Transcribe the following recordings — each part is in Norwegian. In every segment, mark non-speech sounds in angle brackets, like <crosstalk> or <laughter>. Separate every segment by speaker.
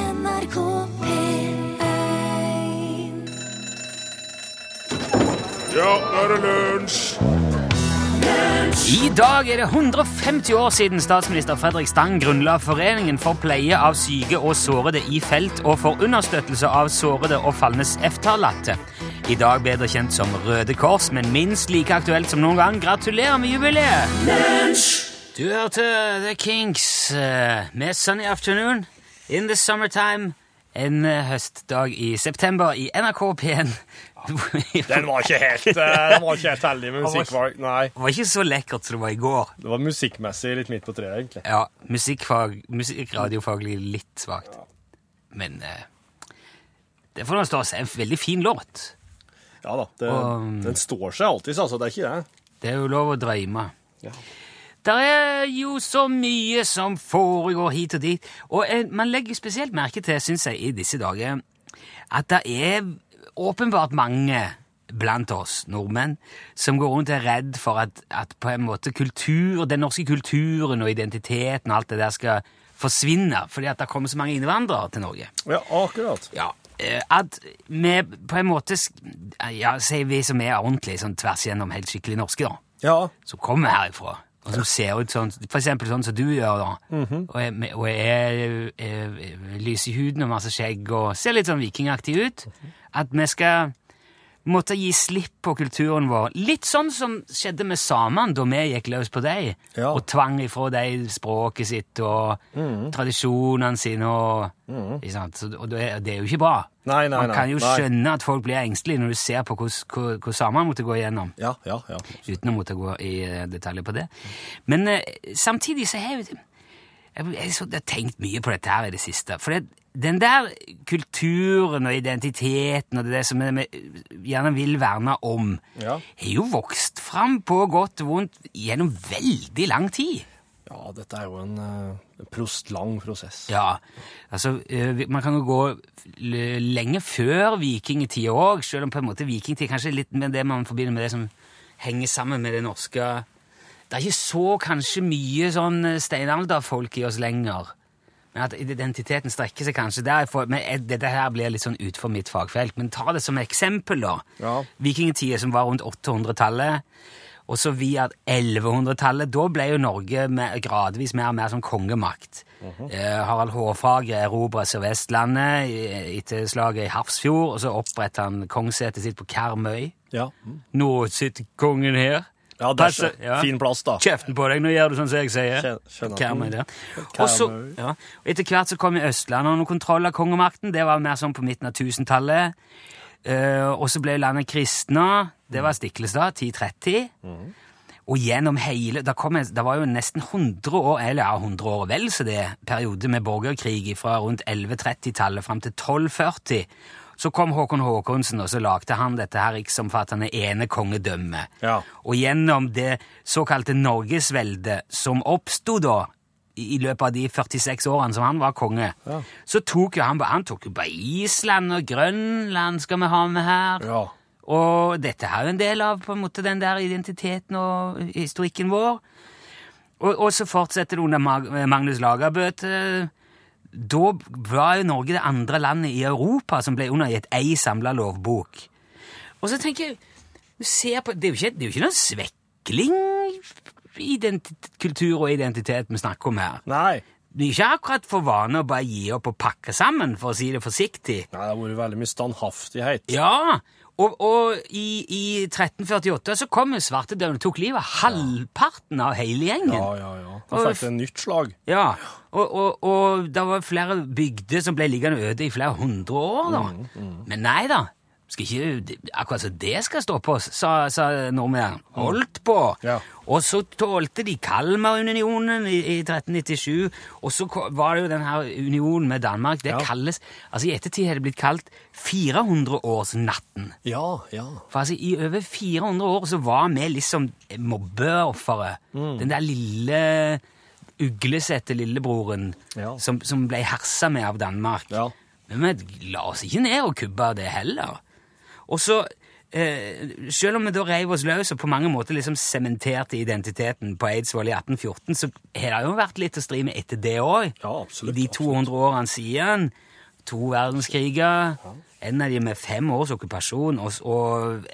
Speaker 1: NRK P1
Speaker 2: Ja, nå er det lunsj!
Speaker 3: I dag er det 150 år siden statsminister Fredrik Stang grunnla Foreningen for pleie av syke og sårede i felt og for understøttelse av sårede og falnes efterlatte. I dag bedre kjent som Røde Kors, men minst like aktuelt som noen gang. Gratulerer med jubileet! Du hørte The Kinks eh, med Sunny Afternoon in the Summertime en eh, høstdag i september i NRK P1.
Speaker 2: Ah, Den var ikke helt, eh, den var ikke helt heldig
Speaker 3: <laughs>
Speaker 2: med musikkvalg. Nei,
Speaker 3: Det var ikke så lekkert som det var i går.
Speaker 2: det var musikkmessig litt midt på treet, egentlig.
Speaker 3: Ja, musikkfag, musikkradiofaglig litt svagt. Men eh, det får nå stå seg. En veldig fin låt.
Speaker 2: Ja da, det,
Speaker 3: Um.
Speaker 2: Den står seg alltid, altså. Det er ikke det.
Speaker 3: Det er jo lov å drømme.
Speaker 2: Ja.
Speaker 3: Det er jo så mye som foregår hit og dit, og eh, man legger spesielt merke til, syns jeg, i disse dager, at det er åpenbart mange blant oss nordmenn som går rundt og er redd for at, at på en måte kultur, den norske kulturen og identiteten og alt det der skal forsvinne, fordi at det kommer så mange innvandrere til Norge.
Speaker 2: Ja, akkurat.
Speaker 3: Ja, eh, at vi på en måte sk- Ja, sier vi som er ordentlig sånn tvers igjennom helt skikkelig norske, da.
Speaker 2: Ja,
Speaker 3: Som kommer herifra, og som ser ut sånn For eksempel sånn som du gjør, da. Og er, med- og er, er, er lys i huden og masse skjegg og ser litt sånn vikingaktig ut. At vi skal måtte gi slipp på kulturen vår. Litt sånn som skjedde med samene da vi gikk løs på dem
Speaker 2: Ja. Mm.
Speaker 3: og tvang ifra dem språket sitt og tradisjonene sine. Og, ikke sant? Så- og det er- det er jo ikke bra.
Speaker 2: Nei, nei,
Speaker 3: Man
Speaker 2: nei,
Speaker 3: kan jo
Speaker 2: nei.
Speaker 3: skjønne at folk blir engstelige når du ser på hvordan- hvor hvor samene måtte gå igjennom
Speaker 2: ja, ja. ja.
Speaker 3: uten å måtte gå i eh, detaljer på det. Men eh, samtidig så har jeg jo jeg, jeg, så, jeg har tenkt mye på dette her i det siste. For det, den der kulturen og identiteten og det der som vi vi gjerne vil verne om,
Speaker 2: Ja.
Speaker 3: har jo vokst fram på godt og vondt gjennom veldig lang tid.
Speaker 2: ja dette er jo en eh, prost lang prosess.
Speaker 3: Ja, altså eh, vi- Man kan jo gå l- lenge før vikingtida òg, selv om på en måte vikingtid kanskje er litt med det man forbinder med det som henger sammen med det norske Det er ikke så kanskje mye sånn eh, steinalderfolk i oss lenger. Men at identiteten strekker seg kanskje derfor. Men eh, dette her blir litt sånn utenfor mitt fagfelt. Men ta det som eksempel, da.
Speaker 2: Ja.
Speaker 3: Vikingtida som var rundt 800-tallet. Og så via 1100-tallet, da ble jo Norge mer, gradvis mer og mer som kongemakt. eh, Harald Hårfagre erobra Sør-Vestlandet i- etter slaget i Hafrsfjord, og så oppretta han kongssetet sitt på Karmøy.
Speaker 2: Ja,
Speaker 3: Nå sitter kongen her.
Speaker 2: ja det er
Speaker 3: Passer-
Speaker 2: skjø- fin plass, da.
Speaker 3: Kjeften på deg, nå gjør du sånn som jeg sier.
Speaker 2: Skjø- skjønner.
Speaker 3: Karmøy der.
Speaker 2: Karmøy.
Speaker 3: Og så, ja, og etter hvert så kom jo Østlandet under kontroll av kongemakten. Det var mer sånn på midten av 1000-tallet. Eh, og så ble landet kristna. Det var Stiklestad, 1030. Og gjennom hele Det kom en, det var jo nesten 100 år, eller ja, 100 år vel, så det er periode med borgerkrig fra rundt 1130-tallet fram til 1240. Så kom Håkon Håkonsen, og så lagde han dette her riksomfattende ene kongedømmet.
Speaker 2: Ja.
Speaker 3: Og gjennom det såkalte Norgesveldet, som oppsto da i i løpet av de 46 årene som han var konge, så tok jo han, ba- han tok jo bare Island og Grønland skal vi ha med her.
Speaker 2: Ja.
Speaker 3: Og dette er jo en del av på en måte, den der identiteten og historikken vår. Og, og så fortsetter det under Mag- Magnus Lagerbøte. Da var jo Norge det andre landet i Europa som ble undergitt ei samla lovbok. Og så tenker jeg du ser på, Det er jo ikke, det er jo ikke noen svekling identi- kultur og identitet vi snakker om her.
Speaker 2: Nei.
Speaker 3: Det er ikke akkurat for vane å bare gi opp og pakke sammen, for å si det forsiktig.
Speaker 2: Nei, det har vært veldig mye standhaftighet.
Speaker 3: Ja, og, og i, i 1348 så kom jo svartedauden og tok livet av halvparten av hele gjengen.
Speaker 2: Ja, ja, ja. Da fikk det en nytt slag.
Speaker 3: Ja, og, og, og det var flere bygder som ble liggende øde i flere hundre år, da.
Speaker 2: Mm.
Speaker 3: Men nei da, skal ikke, akkurat så det skal stå på, sa, sa nordmenn. Holdt på!
Speaker 2: Ja.
Speaker 3: Og så tålte de Kalmarunionen i, i 1397, og så ko- var det jo den her unionen med Danmark. Det
Speaker 2: Ja.
Speaker 3: kalles, altså I ettertid har det blitt kalt 400-årsnatten.
Speaker 2: Ja, ja.
Speaker 3: For altså, i over 400 år så var vi liksom mobbeofferet.
Speaker 2: Mm.
Speaker 3: Den der lille uglesette lillebroren
Speaker 2: Ja.
Speaker 3: som, som ble hersa med av Danmark.
Speaker 2: Ja.
Speaker 3: Men vi la oss ikke ned og kubba det heller. Og så, eh, selv om vi da reiv oss løs og på mange måter liksom sementerte identiteten på Eidsvoll i 1814, så har det jo vært litt å stri med etter det òg.
Speaker 2: Ja, absolutt,
Speaker 3: I de 200 årene siden. to verdenskriger, en av de med fem års okkupasjon, og, s- og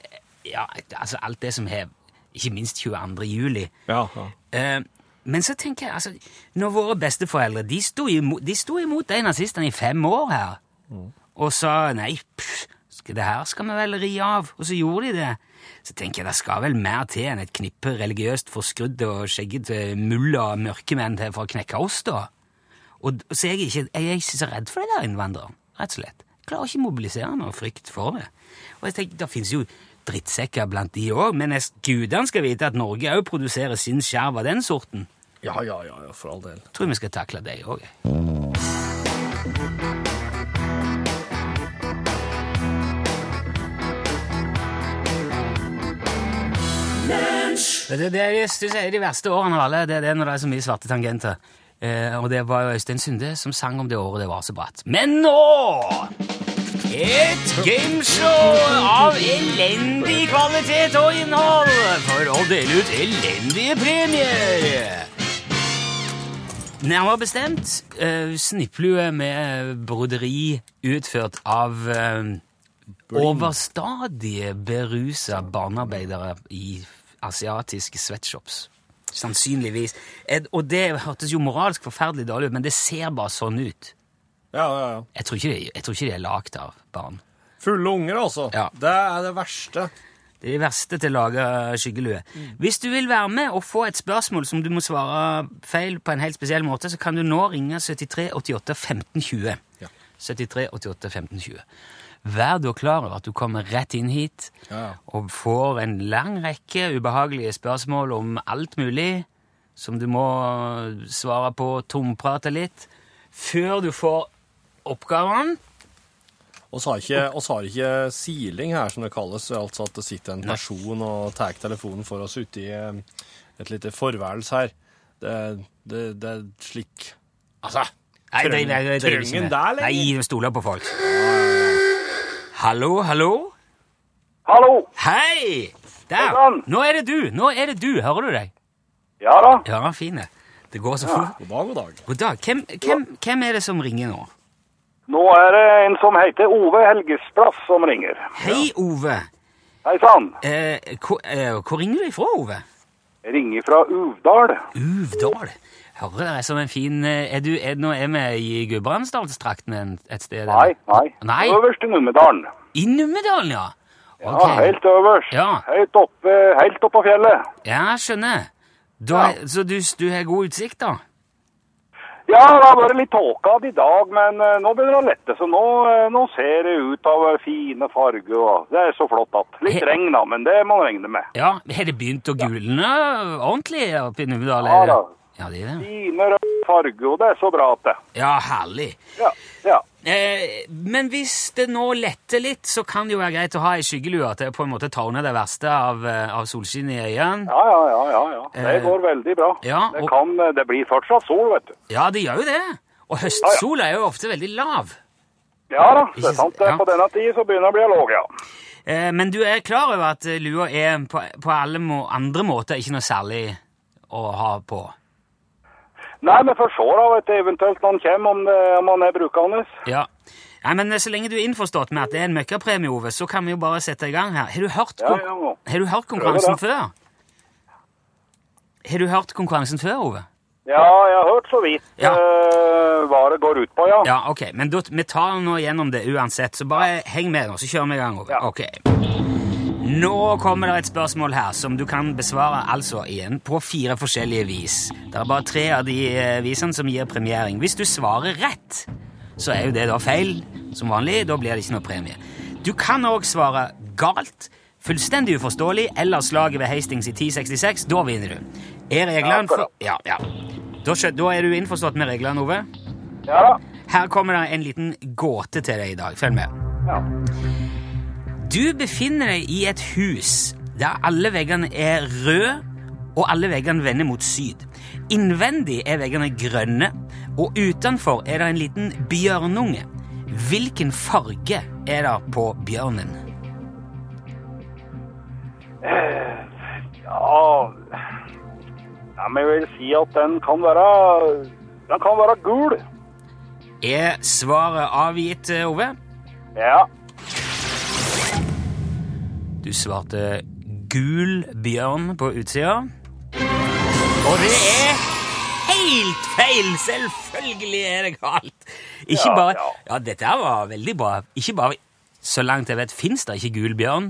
Speaker 3: ja, altså alt det som hev, ikke minst 22. juli.
Speaker 2: Ja, ja.
Speaker 3: Eh, men så tenker jeg, altså, når våre besteforeldre, de sto imot de, sto imot de nazistene i fem år her,
Speaker 4: 嗯
Speaker 3: og sa nei, pff, skal- det her skal vi vel ri av, og så gjorde de det. Så tenker jeg, det skal vel mer til enn et knippe religiøst forskrudde og skjeggete mulla og mørkemenn til for å knekke oss da. Og, d- så jeg er, ikke, jeg er ikke så redd for de der innvandrerne, rett og slett. Jeg klarer ikke å mobilisere noe frykt for det. Og jeg tenker, det finnes jo drittsekker blant de òg, men jeg- gudene skal vite at Norge òg produserer sin skjerv av den sorten.
Speaker 2: Ja, ja, ja, ja, for all del.
Speaker 3: Tror vi skal takle det òg. Det, det, det, er- jeg synes jeg er de verste årene av alle, det, det er når det er så mye svarte tangenter. Eh, og det var jo Øystein Sunde som sang om det året det var så bratt. Men nå et gameshow av elendig kvalitet og innhold for å dele ut elendige premier. Nærmere bestemt uh, snipplue med broderi utført av eh, overstadige berusa barnearbeidere i asiatiske sweatshops. Sannsynligvis. Ed, og det hørtes jo moralsk forferdelig dårlig ut, men det ser bare sånn ut.
Speaker 2: Ja, ja, ja.
Speaker 3: Jeg tror ikke det, jeg tror ikke det er lagd av barn.
Speaker 2: Fulle unger, altså.
Speaker 3: Ja.
Speaker 2: Det er det verste. Mm.
Speaker 3: Det er de verste til å lage skyggelue. Hvis du vil være med og få et spørsmål som du må svare feil på en helt spesiell måte, så kan du nå ringe 73 88 15 20.
Speaker 2: Ja.
Speaker 3: 73 88 15 20. Vær da klar over at du kommer rett inn hit
Speaker 2: Ja.
Speaker 3: og får en lang rekke ubehagelige spørsmål om alt mulig som du må svare på, tomprate litt, før du får oppgaven.
Speaker 2: Vi har, ikke, oss har ikke siling her, som det kalles. Altså at det sitter en person og tar telefonen for oss ute i eh, et lite forværelse her. Det, det, det er slik Altså
Speaker 3: Nei, det, det, det, det,
Speaker 2: Trøngen der, eller?
Speaker 3: Nei, jeg stoler på folk. Hallo, hallo?
Speaker 1: Hallo!
Speaker 3: Hei! Der!
Speaker 1: Hvordan?
Speaker 3: Nå er det du! Nå er det du! Hører du deg?
Speaker 1: Ja da,
Speaker 3: Ja, fine. Det går så fort.
Speaker 2: God dag, god dag.
Speaker 3: God dag. Hvem, hvem, hvem er det som ringer nå?
Speaker 1: nå er det en som heter Ove Helgesplass som ringer.
Speaker 3: Hei, Ove.
Speaker 1: Hei sann,
Speaker 3: Eh, hvor, eh, hvor ringer du ifra, Ove?
Speaker 1: jeg ringer fra Uvdal.
Speaker 3: Uvdal. Hører dere som en fin eh, Er du er, Nå er vi i Gudbrandsdalstrakten en- et sted? eller?
Speaker 1: Nei, nei.
Speaker 3: Nei.
Speaker 1: Øverst i Numedalen.
Speaker 3: I Numedalen, ja?
Speaker 1: Ja,
Speaker 3: Ok.
Speaker 1: helt øverst.
Speaker 3: Ja.
Speaker 1: Helt oppe, helt oppe på fjellet.
Speaker 3: Ja, jeg skjønner. Da, Så du, du har god utsikt, da?
Speaker 1: Ja, det har vært litt tåkete i dag, men eh, nå begynner det å lette. Så nå, eh, nå ser det ut av eh, fine farger, og det er så flott at Litt
Speaker 3: He-
Speaker 1: regn, da, men det må man regne med.
Speaker 3: Ja, Har det begynt å gulne ordentlig oppe i Numedal?
Speaker 1: Ja,
Speaker 3: er det?
Speaker 1: da.
Speaker 3: Ja, det er det.
Speaker 1: Fine røde farger, og det er så bra at det.
Speaker 3: Ja, herlig.
Speaker 1: Ja, ja.
Speaker 3: Eh, men hvis det nå letter litt, så kan det jo være greit å ha ei skyggelue til å på en måte ta unna det verste av, eh, av solskinnet i øynene.
Speaker 1: Ja, ja, ja, ja, ja. Det
Speaker 3: Eh,
Speaker 1: går veldig bra.
Speaker 3: ja,
Speaker 1: det,
Speaker 3: og-
Speaker 1: kan, eh, det blir fortsatt sol, vet du.
Speaker 3: Ja, det gjør jo det. Og høstsola er jo ofte veldig lav.
Speaker 1: Ja da, det
Speaker 3: Ikke
Speaker 1: er sant.
Speaker 3: s- ja.
Speaker 1: På denne tiden så begynner det å bli låg, ja.
Speaker 3: Eh, men du er klar over at eh, lua er på, på alle må, andre måter ikke noe særlig å ha på?
Speaker 1: Nei, men for så da, vet du, eventuelt når han kommer, om, det, om han er brukende.
Speaker 3: Ja. Nei, men eh, så lenge du er innforstått med at det er en møkkapremie, Ove, så kan vi jo bare sette i gang her. Har du hørt,
Speaker 1: Ja,
Speaker 3: kon-
Speaker 1: ja, ja.
Speaker 3: Har du hørt konkurransen
Speaker 1: det.
Speaker 3: før? Har du hørt konkurransen før, Ove?
Speaker 1: Ja, jeg har hørt så vidt
Speaker 3: Ja.
Speaker 1: eh, hva det går ut på, ja.
Speaker 3: Ja, ok. Men da, vi tar nå gjennom det uansett, så bare heng med nå, så kjører vi i gang, Ove.
Speaker 1: Ja.
Speaker 3: Ok. Nå kommer det et spørsmål her som du kan besvare altså igjen på fire forskjellige vis. Det er bare tre av de eh, visene som gir premiering. Hvis du svarer rett, så er jo det da feil som vanlig. Da blir det ikke noe premie. Du kan òg svare galt, fullstendig uforståelig eller slaget ved Hastings i 1066. Da vinner du. Er reglene for Ja, ja. Da, skjø- da er du innforstått med reglene, Ove?
Speaker 1: Ja da.
Speaker 3: Her kommer det en liten gåte til deg i dag. Følg med.
Speaker 1: Ja.
Speaker 3: Du befinner deg i et hus der alle veggene er røde, og alle veggene vender mot syd. Innvendig er veggene grønne, og utenfor er det en liten bjørnunge. Hvilken farge er det på bjørnen?
Speaker 1: Eh, ja. Nei, men jeg vil si at den kan være, den kan være gul.
Speaker 3: Er svaret avgitt, Ove?
Speaker 1: Ja.
Speaker 3: Du svarte gul bjørn på utsida. Og det er helt feil! Selvfølgelig er det galt! Ikke
Speaker 1: Ja,
Speaker 3: bare
Speaker 1: ja.
Speaker 3: Ja, dette her var veldig bra. Ikke bare Så langt jeg vet, fins det ikke gul bjørn?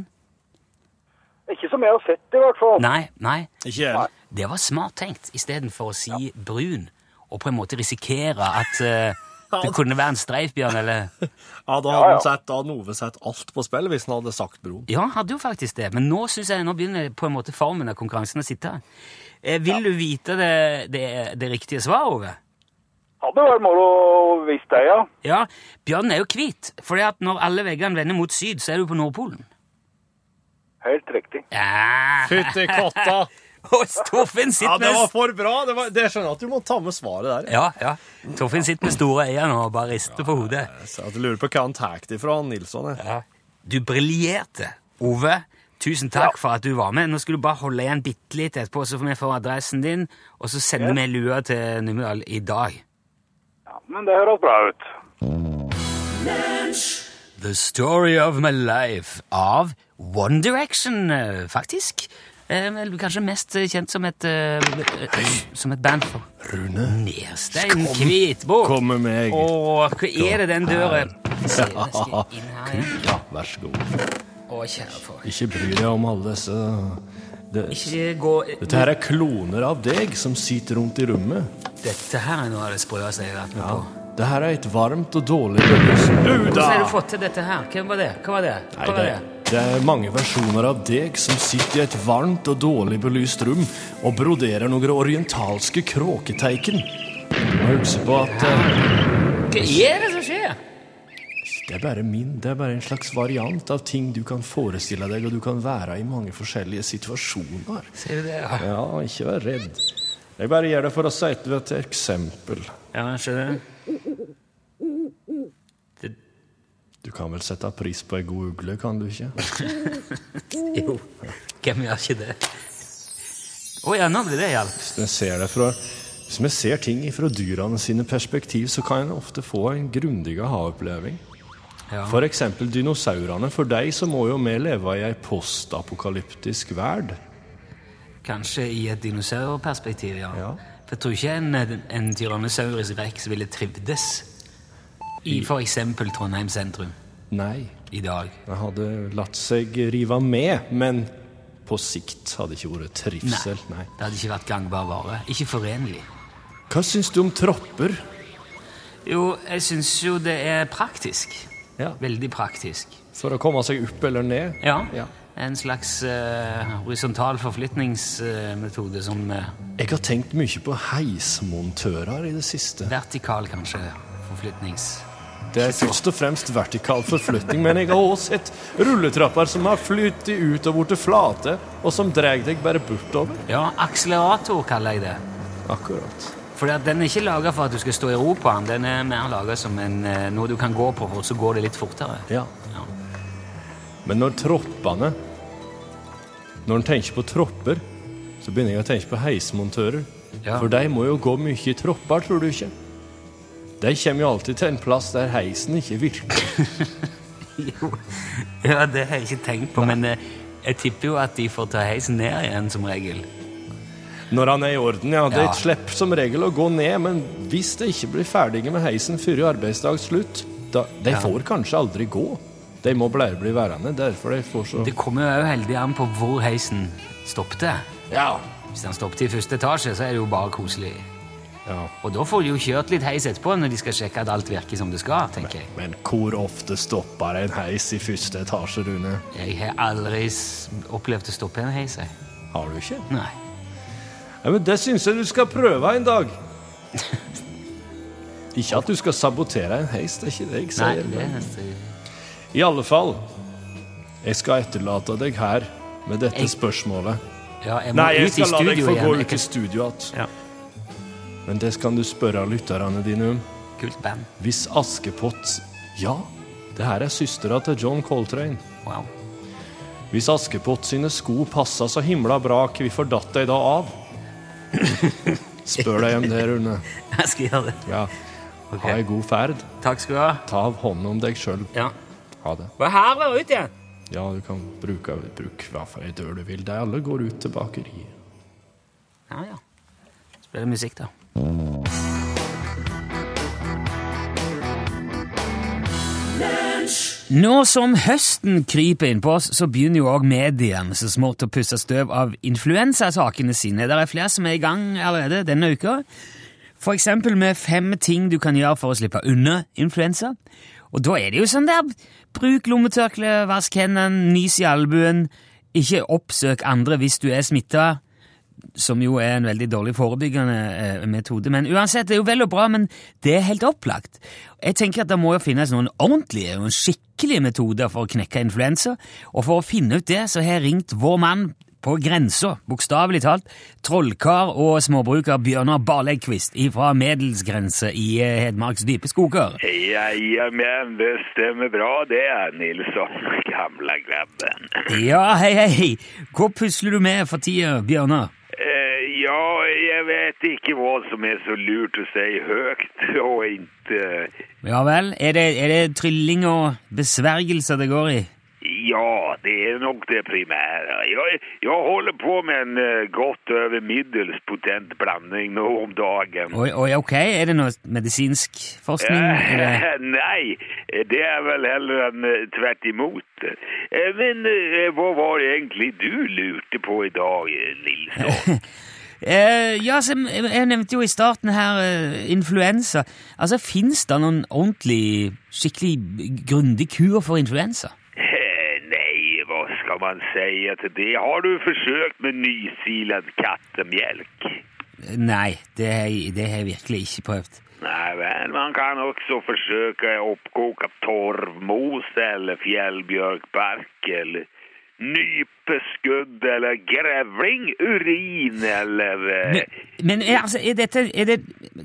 Speaker 1: Ikke som jeg har sett, i hvert fall.
Speaker 3: Nei, nei.
Speaker 5: Ikke jeg. heller.
Speaker 3: Det var smart tenkt, istedenfor å si brun, og på en måte risikere at
Speaker 5: <laughs>
Speaker 3: eh, det kunne være en streifbjørn, eller
Speaker 5: Ja, da hadde, han sett, da hadde Ove sett alt på spill hvis han hadde sagt broen.
Speaker 3: Ja, han hadde jo faktisk det, men nå synes jeg, nå begynner på en måte formen av konkurransen å sitte. Eh, vil du vite det, det, det riktige svaret, Ove?
Speaker 1: Hadde vært moro hvis det, ja.
Speaker 3: Ja, bjørnen er jo hvit, fordi at når alle veggene vender mot syd, så er du på Nordpolen.
Speaker 1: Helt riktig.
Speaker 3: Ja.
Speaker 5: Fytti katta!
Speaker 3: <laughs> Og Torfinn
Speaker 5: Ja,
Speaker 3: sitter
Speaker 5: det var
Speaker 3: med...
Speaker 5: for bra! Det, var, det skjønner jeg at du må ta med svaret der.
Speaker 3: Ja, ja. Torfinn sitter med store øyne og bare rister på hodet.
Speaker 5: Så jeg lurer på hva han tar det fra, han Nilsson. jeg.
Speaker 3: Ja. Du briljerte, Ove. Tusen takk for at du var med. Nå skal du bare holde igjen bitte litt etterpå, så får vi få adressen din, og så sender vi lua til Numedal i dag.
Speaker 1: Ja, men det høres bra ut.
Speaker 3: The Story of My Life av One Direction, eh, faktisk. Eh, vel, Kanskje mest eh, kjent som et, eh, eh, som et band for
Speaker 5: Rune.
Speaker 3: Nerstein Kvitbok.
Speaker 5: Kom med meg.
Speaker 3: Og hva er det den
Speaker 5: <laughs>
Speaker 3: døren Se, den skal
Speaker 5: Ja,
Speaker 3: inn her igjen.
Speaker 5: vær så god.
Speaker 3: Å, kjære folk.
Speaker 5: Ikke bry deg om alle disse det,
Speaker 3: Ikke gå
Speaker 5: Dette her er kloner av deg som sitter rundt i rommet.
Speaker 3: Dette her er noe av det sprøeste jeg har vært med på.
Speaker 5: Det her er et varmt og dårlig bølgesnø.
Speaker 3: Hvordan har du fått til dette her? Hvem var det? Hva var det?
Speaker 5: Nei,
Speaker 3: Hva var
Speaker 5: det,
Speaker 3: det?
Speaker 5: det er mange versjoner av deg som sitter i et varmt og dårlig belyst rom og broderer noen orientalske kråketeiken. Og husk på at eh,
Speaker 3: Hva er det som skjer?
Speaker 5: det er bare min, det er bare en slags variant av ting du kan forestille deg, og du kan være i mange forskjellige situasjoner.
Speaker 3: Ser du det?
Speaker 5: <laughs>
Speaker 3: Ja,
Speaker 5: Ja, ikke vær redd. Jeg bare gjør det for å si til deg et eksempel.
Speaker 3: ja skjønner du?
Speaker 5: Du kan vel sette pris på ei god ugle, kan du ikke?
Speaker 3: Jo, hvem gjør ikke det? <laughs> Å ja, nå ble det hjelp.
Speaker 5: Hvis vi ser, det fra, hvis vi ser ting fra dyrene sine perspektiv, så kan en ofte få en grundig aha-oppleving.
Speaker 3: Ja.
Speaker 5: For eksempel dinosaurene. For deg så må jo vi leve i ei postapokalyptisk verd.
Speaker 3: Kanskje i et dinosaurperspektiv, ja.
Speaker 5: Ja.
Speaker 3: For jeg tror ikke en, en tyrannosaurus rex ville trivdes i for eksempel Trondheim sentrum
Speaker 5: Nei,
Speaker 3: i dag.
Speaker 5: den hadde latt seg rive med, men på sikt hadde ikke vært trivsel. Nei.
Speaker 3: Det hadde ikke vært gangbar vare. Ikke forenlig.
Speaker 5: Hva syns du om tropper?
Speaker 3: Jo, jeg syns jo det er praktisk.
Speaker 5: Ja.
Speaker 3: Veldig praktisk.
Speaker 5: For å komme seg opp eller ned?
Speaker 3: Ja. En slags eh, horisontal forflytningsmetode som eh,
Speaker 5: Jeg har tenkt mye på heismontører i det siste.
Speaker 3: vertikal, kanskje, forflytnings...
Speaker 5: Det er først og fremst vertikal forflytting, men jeg har også sett rulletrapper som har flyttet ut og blitt flate, og som drar deg bare bortover.
Speaker 3: Ja, akselerator kaller jeg det.
Speaker 5: Akkurat.
Speaker 3: Fordi at den er ikke laget for at du skal stå i ro på den. Den er mer laget som en, eh, noe du kan gå på, og så går det litt fortere.
Speaker 5: Ja.
Speaker 3: Ja.
Speaker 5: Men når troppene Når en tenker på tropper, så begynner jeg å tenke på heismontører.
Speaker 3: Ja.
Speaker 5: For de må jo gå mye i tropper, tror du ikke? De kommer jo alltid til en plass der heisen ikke virker.
Speaker 3: <laughs> <laughs> ja, det har jeg ikke tenkt på, men eh, jeg tipper jo at de får ta heisen ned igjen som regel.
Speaker 5: Når han er i orden, ja. De
Speaker 3: Ja.
Speaker 5: slipper som regel å gå ned, men hvis de ikke blir ferdige med heisen før arbeidsdags slutt, da De får kanskje aldri gå. De må bare bli værende, derfor de får så
Speaker 3: Det kommer jo også heldig an på hvor heisen stoppte.
Speaker 5: Ja.
Speaker 3: Hvis den stoppte i første etasje, så er det jo bare koselig.
Speaker 5: ja.
Speaker 3: Og da får de jo kjørt litt heis etterpå når de skal sjekke at alt virker som det skal, tenker jeg.
Speaker 5: Men hvor ofte stopper en heis i første etasje, Rune?
Speaker 3: Jeg har aldri s- opplevd å stoppe en heis, jeg.
Speaker 5: Har du ikke?
Speaker 3: Nei.
Speaker 5: Ja, men Det syns jeg du skal prøve en
Speaker 3: <laughs>
Speaker 5: dag. Ikke at du skal sabotere en heis, det er ikke det jeg
Speaker 3: Nei,
Speaker 5: sier.
Speaker 3: det
Speaker 5: men-
Speaker 3: er nesten...
Speaker 5: I alle fall, jeg skal etterlate deg her med dette
Speaker 3: Jeg-
Speaker 5: spørsmålet.
Speaker 3: Ja, jeg må
Speaker 5: Nei, jeg
Speaker 3: ut i
Speaker 5: skal la deg
Speaker 3: studio
Speaker 5: få gå
Speaker 3: igjen.
Speaker 5: ut i studio igjen.
Speaker 3: Ja.
Speaker 5: Men det kan du spørre lytterne dine om.
Speaker 3: Kult band.
Speaker 5: Hvis Askepott Ja, det her er søstera til John Coltrane.
Speaker 3: Wow.
Speaker 5: Hvis Askepott sine sko passa så himla bra, hvorfor datt de da
Speaker 3: <laughs>
Speaker 5: av? Spør deg om det, Rune.
Speaker 3: Jeg skal gjøre det.
Speaker 5: Ja.
Speaker 3: Ok.
Speaker 2: Ha ei god ferd.
Speaker 3: Takk skal du ha.
Speaker 2: Ta hånd om deg sjøl.
Speaker 3: Ja.
Speaker 2: Ha det.
Speaker 3: Hva er her var ute?
Speaker 2: Ja, du kan bruke bruk hva for ei dør du vil. De alle går ut til bakeriet.
Speaker 3: Ja, ja. Så blir det musikk, da. Nå som høsten kryper innpå oss, så begynner jo òg mediene så smått å pusse støv av influensasakene sine. Det er flere som er i gang allerede denne uka. For eksempel med fem ting du kan gjøre for å slippe unna influensa. Og da er det jo sånn der Bruk lommetørkle, vask hendene, nys i albuen. Ikke oppsøk andre hvis du er smitta som jo er en veldig dårlig forebyggende eh, metode. Men uansett, det er jo vel og bra, men det er helt opplagt. Jeg tenker at det må jo finnes noen ordentlige og skikkelige metoder for å knekke influensa, og for å finne ut det så har jeg ringt vår mann på grensa, bokstavelig talt, trollkar og småbruker Bjørnar Barlegkvist fra Medelsgrense i eh, Hedmarks dype skoger.
Speaker 6: Jajamän, det stämmer bra det, Nilsson, gamla grabben.
Speaker 3: Ja, hei, hei! Hva pusler du med for tida, Bjørnar?
Speaker 6: Eh, ja, jag vet inte vad som är så lurt att säga högt och inte...
Speaker 3: Ja vel, er det, er det trylling og besvergelser det går i?
Speaker 6: Ja, det är nog det primära. Jag, jag håller på med en eh, gott över middelspotent blandning nu om dagen.
Speaker 3: Oi, oi, ok, er det noe medisinsk
Speaker 6: <laughs>
Speaker 3: forskning? eller?
Speaker 6: Eh, nej, det är väl hellre än eh, tvärt emot. Eh, men eh, vad var det egentligen du lurte på idag, eh, Nilsson?
Speaker 3: Eh, ja, så jeg jeg nevnte jo i starten her eh, influensa. Altså, Fins det noen ordentlig, skikkelig grundig kur for influensa?
Speaker 6: Eh, Nej, vad ska man säga till det? Har du försökt med nysilad kattemjölk?
Speaker 3: Eh, Nei, det har jeg, det har jeg virkelig ikke prøvd.
Speaker 6: Nej, väl, man kan också försöka uppkoka torvmos eller fjällbjörkbark eller nypeskudd eller grävlingurin eller... eh,
Speaker 3: Men, men er, altså, er dette, er det,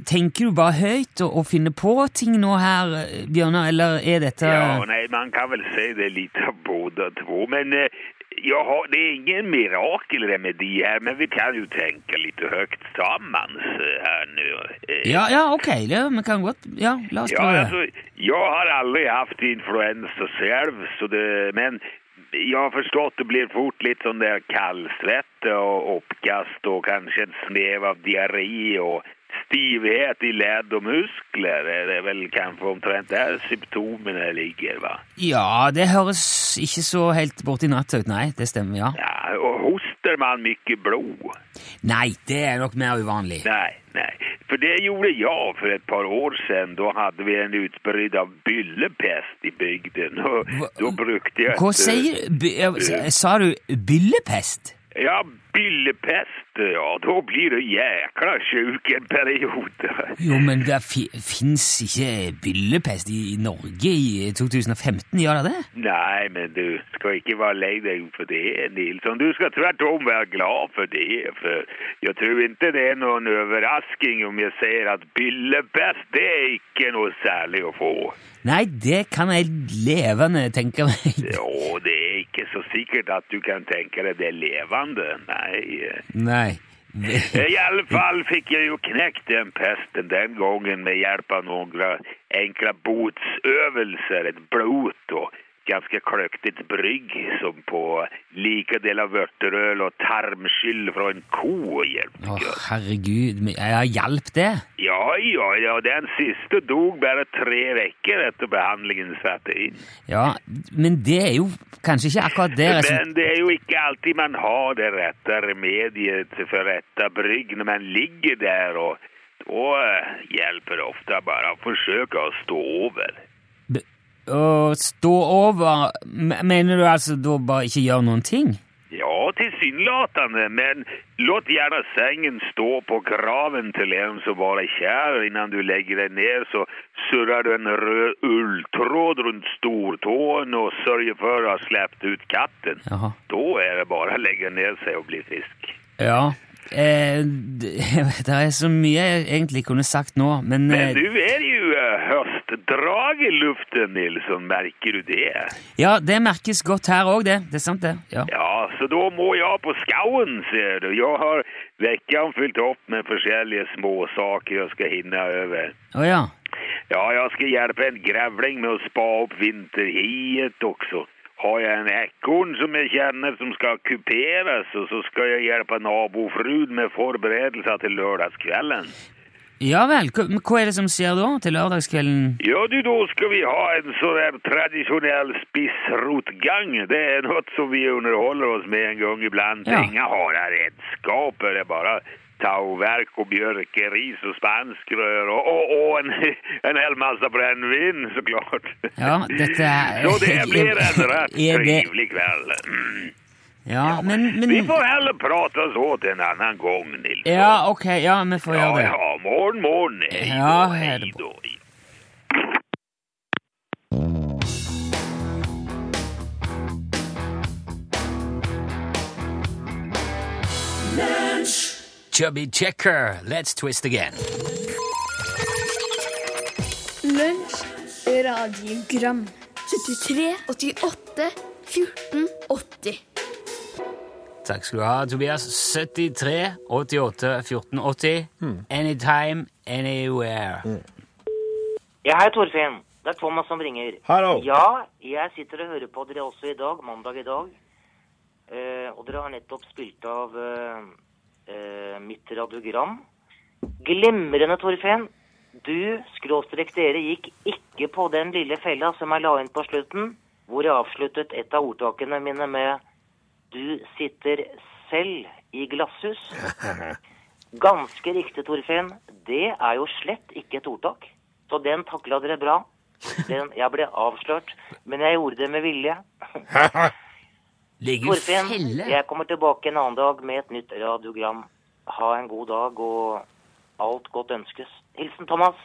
Speaker 3: tenker du bare høyt og, og finner på ting nå her, eh, Bjørnar, eller er dette
Speaker 6: Ja, nej, man kan väl säga det är lite av båda två, men... Eh, jag har, det är ingen mirakelremedi här, men vi kan ju tänka lite högt tillsammans eh, här nu. Eh,
Speaker 3: ja, ja, ok, ja, vi kan godt Ja, la oss
Speaker 6: Ja,
Speaker 3: prøve.
Speaker 6: alltså, jag har aldrig haft influensa själv, så det, men jag har förstått det blir fort sånn lite sån där kallsvett och uppkast och kanske en snev av diarré och stivhet i led och muskler. Det är väl kanske omtrent där symptomen ligger, va?
Speaker 3: Ja, det høres ikke så helt borti natta ut, nei. Det stemmer, ja.
Speaker 6: Ja, och hostar man mycket blod?
Speaker 3: Nei, det er nok mer uvanlig.
Speaker 6: Nej, nej. För det gjorde jag för ett par år sedan. Då hade vi en utbredd av byllepest i bygden. Och då brukade jag...
Speaker 3: Hva
Speaker 6: inte-
Speaker 3: sier by, eh, s- Sa du byllepest?
Speaker 6: Ja, byllepest, ja. Då blir du jäkla sjuk en period. <laughs>
Speaker 3: Jo, men det fi, fins ikke byllepest i, i Norge i 2015, gjør det det?
Speaker 6: Nej, men du ska inte vara lei dig för det, Nilsson. Du ska tvärtom vara glad för det. För jag tror inte det är någon överraskning om jag säger att byllepest, det är inte något särligt att få.
Speaker 3: Nei, det kan jeg levende tenke meg.
Speaker 6: Ja, det är inte så säkert att du kan tänka dig det levande. Nej.
Speaker 3: Nei.
Speaker 6: Eh, I alla fall fick jag ju knäckt den pesten den gången med hjälp av några enkla botsövelser, ett blot och ganska klöktigt brygg som på lika delar vörteröl och tarmskyll från ko hjälpte.
Speaker 3: Å, herregud, men jeg har hjelp det?
Speaker 6: Ja, ja, ja, den sista dog bara tre veckor efter behandlingen satte in.
Speaker 3: Ja, men det er jo kanskje ikke akkurat det jeg som
Speaker 6: Men det är ju inte alltid man har det rätta remediet för rätta brygg när man ligger där och då eh, hjälper det ofta bara att försöka att stå över.
Speaker 3: B- Å stå over M- Mener du altså da bare ikke gjøre noen ting?
Speaker 6: Ja, tillsynelatande, men låt gärna sängen stå på graven till en som bara är kär. Innan du lägger dig ner så surrar du en röd ulltråd runt stortån och sörjer för att ha släppt ut katten.
Speaker 3: Jaha.
Speaker 6: Då är det bara att lägga ner sig och bli frisk.
Speaker 3: Ja. Eh, det, <laughs> det er så mye jeg egentlig kunne sagt nå, men,
Speaker 6: Men
Speaker 3: eh,
Speaker 6: nu är det ju eh, höstdrag i luften, Nilsson. Märker du det?
Speaker 3: Ja, det merkes godt her òg, det. Det er sant, det. Ja.
Speaker 6: Ja, så då må jag på skauen, ser du. Jag har veckan fyllt upp med försäljliga små saker jag ska hinna över.
Speaker 3: Å ja.
Speaker 6: Ja, jag ska hjälpa en grävling med att spa upp vinterhiet också. Har jag en ekorn som jag känner som ska kuperas och så ska jag hjälpa nabofrun med förberedelser till lördagskvällen.
Speaker 3: Ja vel, hva, men hva er det som skjer da til lørdagskvelden?
Speaker 6: Ja du, då ska vi ha en sån här traditionell spissrotgang. Det är något som vi underhåller oss med en gång ibland.
Speaker 3: Ja.
Speaker 6: Inga hårda redskap, det är bara tauverk och björkeris och spanskrör och, och, och en, en hel massa brännvin såklart.
Speaker 3: Ja, dette er
Speaker 6: <laughs> Så det
Speaker 3: <laughs>
Speaker 6: blir en rätt
Speaker 3: Er det-
Speaker 6: trevlig kväll. Mm.
Speaker 3: Ja, men,
Speaker 6: Vi
Speaker 3: men
Speaker 6: får hellre prata så åt en annan gång, Nils.
Speaker 3: Ja, ok, ja, vi får gjøre
Speaker 6: ja,
Speaker 3: det.
Speaker 6: ja, morgon, morgon. Hej då,
Speaker 3: Ja,
Speaker 6: hej
Speaker 3: det är bra.
Speaker 6: då.
Speaker 3: Chubby Checker, let's twist again.
Speaker 7: Lunsj, radiogram 73, 88, 14, 80
Speaker 3: Takk skal du ha, Tobias. 73 88 14 80.
Speaker 2: Hmm.
Speaker 3: Anytime, anywhere.
Speaker 4: Ja, hei, Torfinn. Det er Thomas som ringer.
Speaker 2: Hallo.
Speaker 4: Ja, jeg sitter og hører på dere også i dag, mandag i dag. Eh, og dere har nettopp spilt av eh, eh, mitt radiogram. Glimrende, Torfinn. Du, skråstrek dere, gikk ikke på den lille fella som jeg la inn på slutten, hvor jeg avsluttet et av ordtakene mine med Du sitter selv i glasshus. Ganske riktig, Torfinn. Det er jo slett ikke et ordtak. Så den takla dere bra. Den, jeg ble avslørt, men jeg gjorde det med vilje.
Speaker 3: Ligger jo
Speaker 4: Torfinn,
Speaker 3: felle.
Speaker 4: jeg kommer tilbake en annen dag med et nytt radiogram. Ha en god dag, og alt godt ønskes. Hilsen Thomas.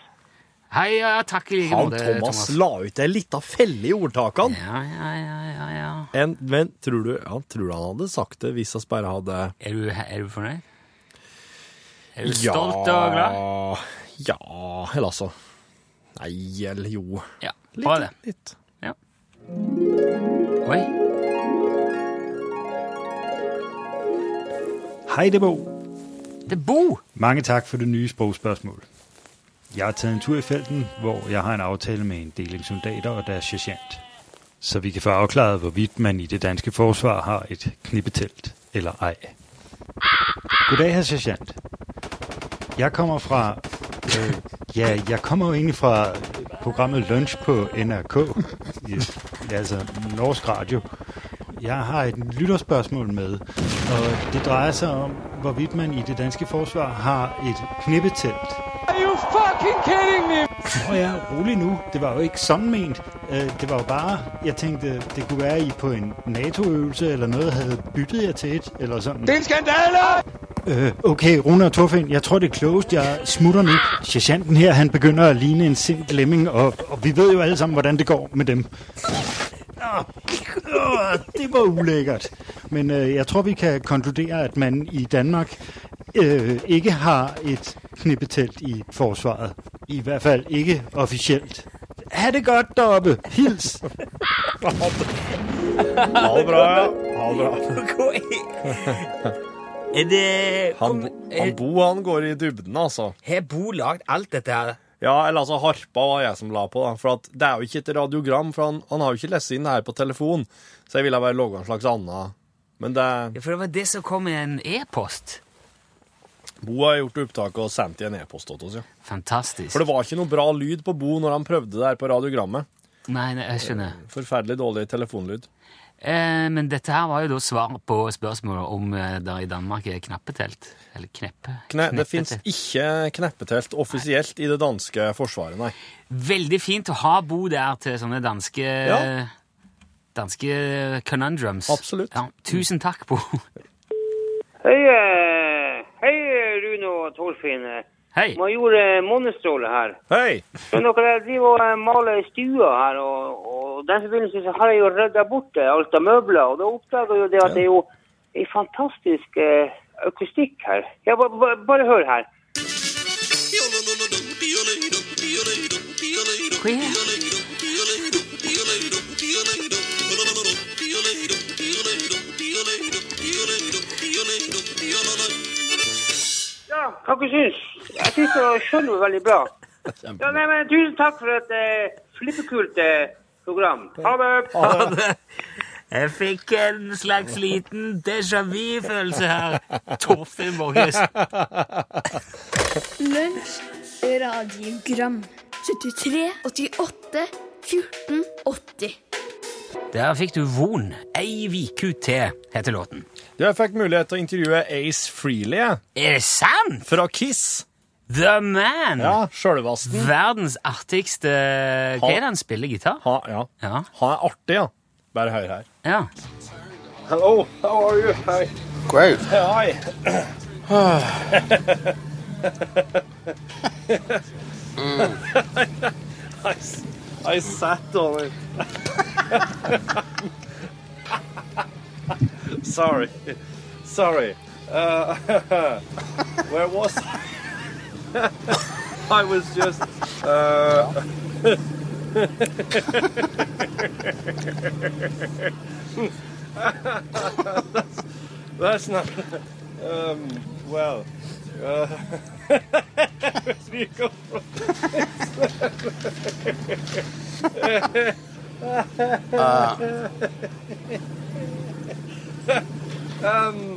Speaker 3: Hei, ja, takk i like
Speaker 2: Han
Speaker 3: måte,
Speaker 2: Thomas la ut ei lita felle i ordtakene.
Speaker 3: Ja, ja, ja, ja, ja.
Speaker 2: En, men tror du, ja, tror du han hadde sagt det hvis vi bare hadde
Speaker 3: Er du, er du fornøyd? Er du stolt og glad?
Speaker 2: Ja Eller altså Nei, eller jo.
Speaker 3: Ja, bra det.
Speaker 2: Litt.
Speaker 3: Ja. Oi.
Speaker 8: Hej, det er Bo.
Speaker 3: Det er Bo!
Speaker 8: Mange tak for det nye sprogspørgsmål. Jeg har taget en tur i felten, hvor jeg har en aftale med en deling soldater og deres sergeant. Så vi kan få afklaret, hvorvidt man i det danske forsvar har et knippetelt eller ej. Goddag, herr sergeant. Jeg kommer fra... Øh, ja, jeg kommer jo egentlig fra programmet Lunch på NRK. Ja, altså, Norsk Radio. Jeg har et lytterspørgsmål med, og det drejer sig om, hvorvidt man i det danske forsvar har et knippetelt. Are you fucking kidding me? Nå ja, rolig nu. Det var jo ikke sådan ment. Øh, Det var jo bare, jeg tænkte, det kunne være, I på en NATO-øvelse eller noget havde byttet jer til et, eller sådan. Det er en skandale! Øh, okay, Rune og Torfinn, jeg tror det er klogest, jeg smutter nu. Sergeanten her, han begynder at ligne en sint lemming, og, og vi ved jo alle sammen, hvordan det går med dem. Åh, det var ulækkert. Men øh, jeg tror, vi kan konkludere, at man i Danmark øh, ikke har et knippetelt i forsvaret. I hvert fald ikke officielt. Ha' det godt deroppe. Hils.
Speaker 2: Ha det bra, ja. Ha det bra.
Speaker 3: <laughs> Hva er Er det
Speaker 2: Han, han Bo han går i dybden, altså.
Speaker 3: Har Bo lagd alt dette her?
Speaker 2: Ja, eller altså harpa var jeg som la på, da. For at det er jo ikke et radiogram, for han, han har jo ikke lest inn det her på telefon. Så jeg ville bare logge en slags anna. Men det,
Speaker 3: Ja, for det var det som kom i en e-post.
Speaker 2: Bo har gjort opptaket og sendt i en e-post til oss, ja.
Speaker 3: Fantastisk.
Speaker 2: For det var ikke noe bra lyd på Bo når han prøvde det her på radiogrammet.
Speaker 3: Nei, nei, jeg skjønner.
Speaker 2: Forferdelig dårlig telefonlyd.
Speaker 3: Eh, men dette her var jo da svar på spørsmålet om eh, der i Danmark er knappetelt. Eller kneppe.
Speaker 2: Kne, det
Speaker 3: kneppetelt.
Speaker 2: fins ikke kneppetelt offisielt i det danske forsvaret, nei.
Speaker 3: Veldig fint å ha Bo der til sånne danske
Speaker 2: Ja.
Speaker 3: Danske conundrums.
Speaker 2: Absolutt.
Speaker 3: Ja, tusen takk, Bo.
Speaker 9: Hei, eh, hei Rune og Torfinn.
Speaker 3: Hei.
Speaker 9: Major eh, Månestråle her.
Speaker 2: Hei!
Speaker 9: Men dere jeg driver og eh, maler i stua her, og, og i den forbindelse så har jeg jo rydda bort eh, alt av møbler. Og da oppdager jeg jo det at det er jo en fantastisk eh, akustikk her. Ja, ba, ba, bare hør her.
Speaker 3: Hva er det?
Speaker 9: Ja, hva dere syns? Jeg syns det var- skjønner det veldig bra. Ja, nei, men tusen takk for et eh, flippekult eh, program. Ha det!
Speaker 3: Jeg fikk en slags liten déjà vu-følelse her. Torfinn Borges.
Speaker 7: Lunsj, radiogram 73, 88, 14, 80
Speaker 3: Der fikk du Von. Ei viku til, heter låten.
Speaker 10: Du, jeg fikk mulighet til å intervjue Ace Freely jeg,
Speaker 3: Er det sant?!
Speaker 10: fra Kiss.
Speaker 3: The Man!
Speaker 10: Ja, sjølvasten.
Speaker 3: Verdens artigste Hva er det han spiller gitar?
Speaker 10: Ha, ja.
Speaker 3: Ja.
Speaker 10: Han er artig, ja. Bare hør her.
Speaker 3: ja.
Speaker 5: Hello, how are you? Hi.
Speaker 11: Great.
Speaker 5: Hi. <laughs> Ah. I, s- I sat on it. <laughs> Sorry. Sorry. Uh, <laughs> where was I? <laughs> I was just. Uh, <laughs> <laughs> 네. that's not. Um, well. Uh, <laughs> where do you go from? Um,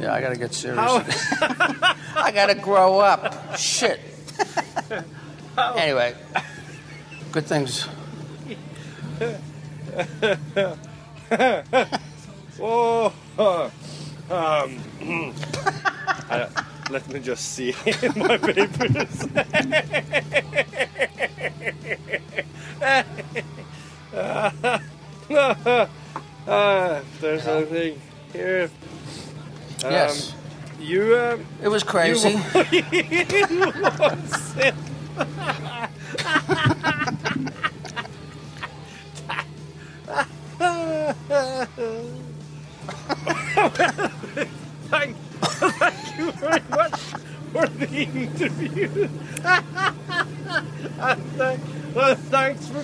Speaker 11: Yeah, I gotta get serious. <laughs> I gotta grow up.
Speaker 5: <laughs>
Speaker 11: Shit. <laughs> Anyway, good things.
Speaker 5: Oh, um, I- let me just see <laughs> in my papers. <laughs> <laughs> uh, if there's anything here. Um,
Speaker 11: Yes,
Speaker 5: You, um,
Speaker 11: it was
Speaker 5: <laughs>
Speaker 11: crazy.
Speaker 5: thank, thank you very much for the interview. and, uh, well, thanks for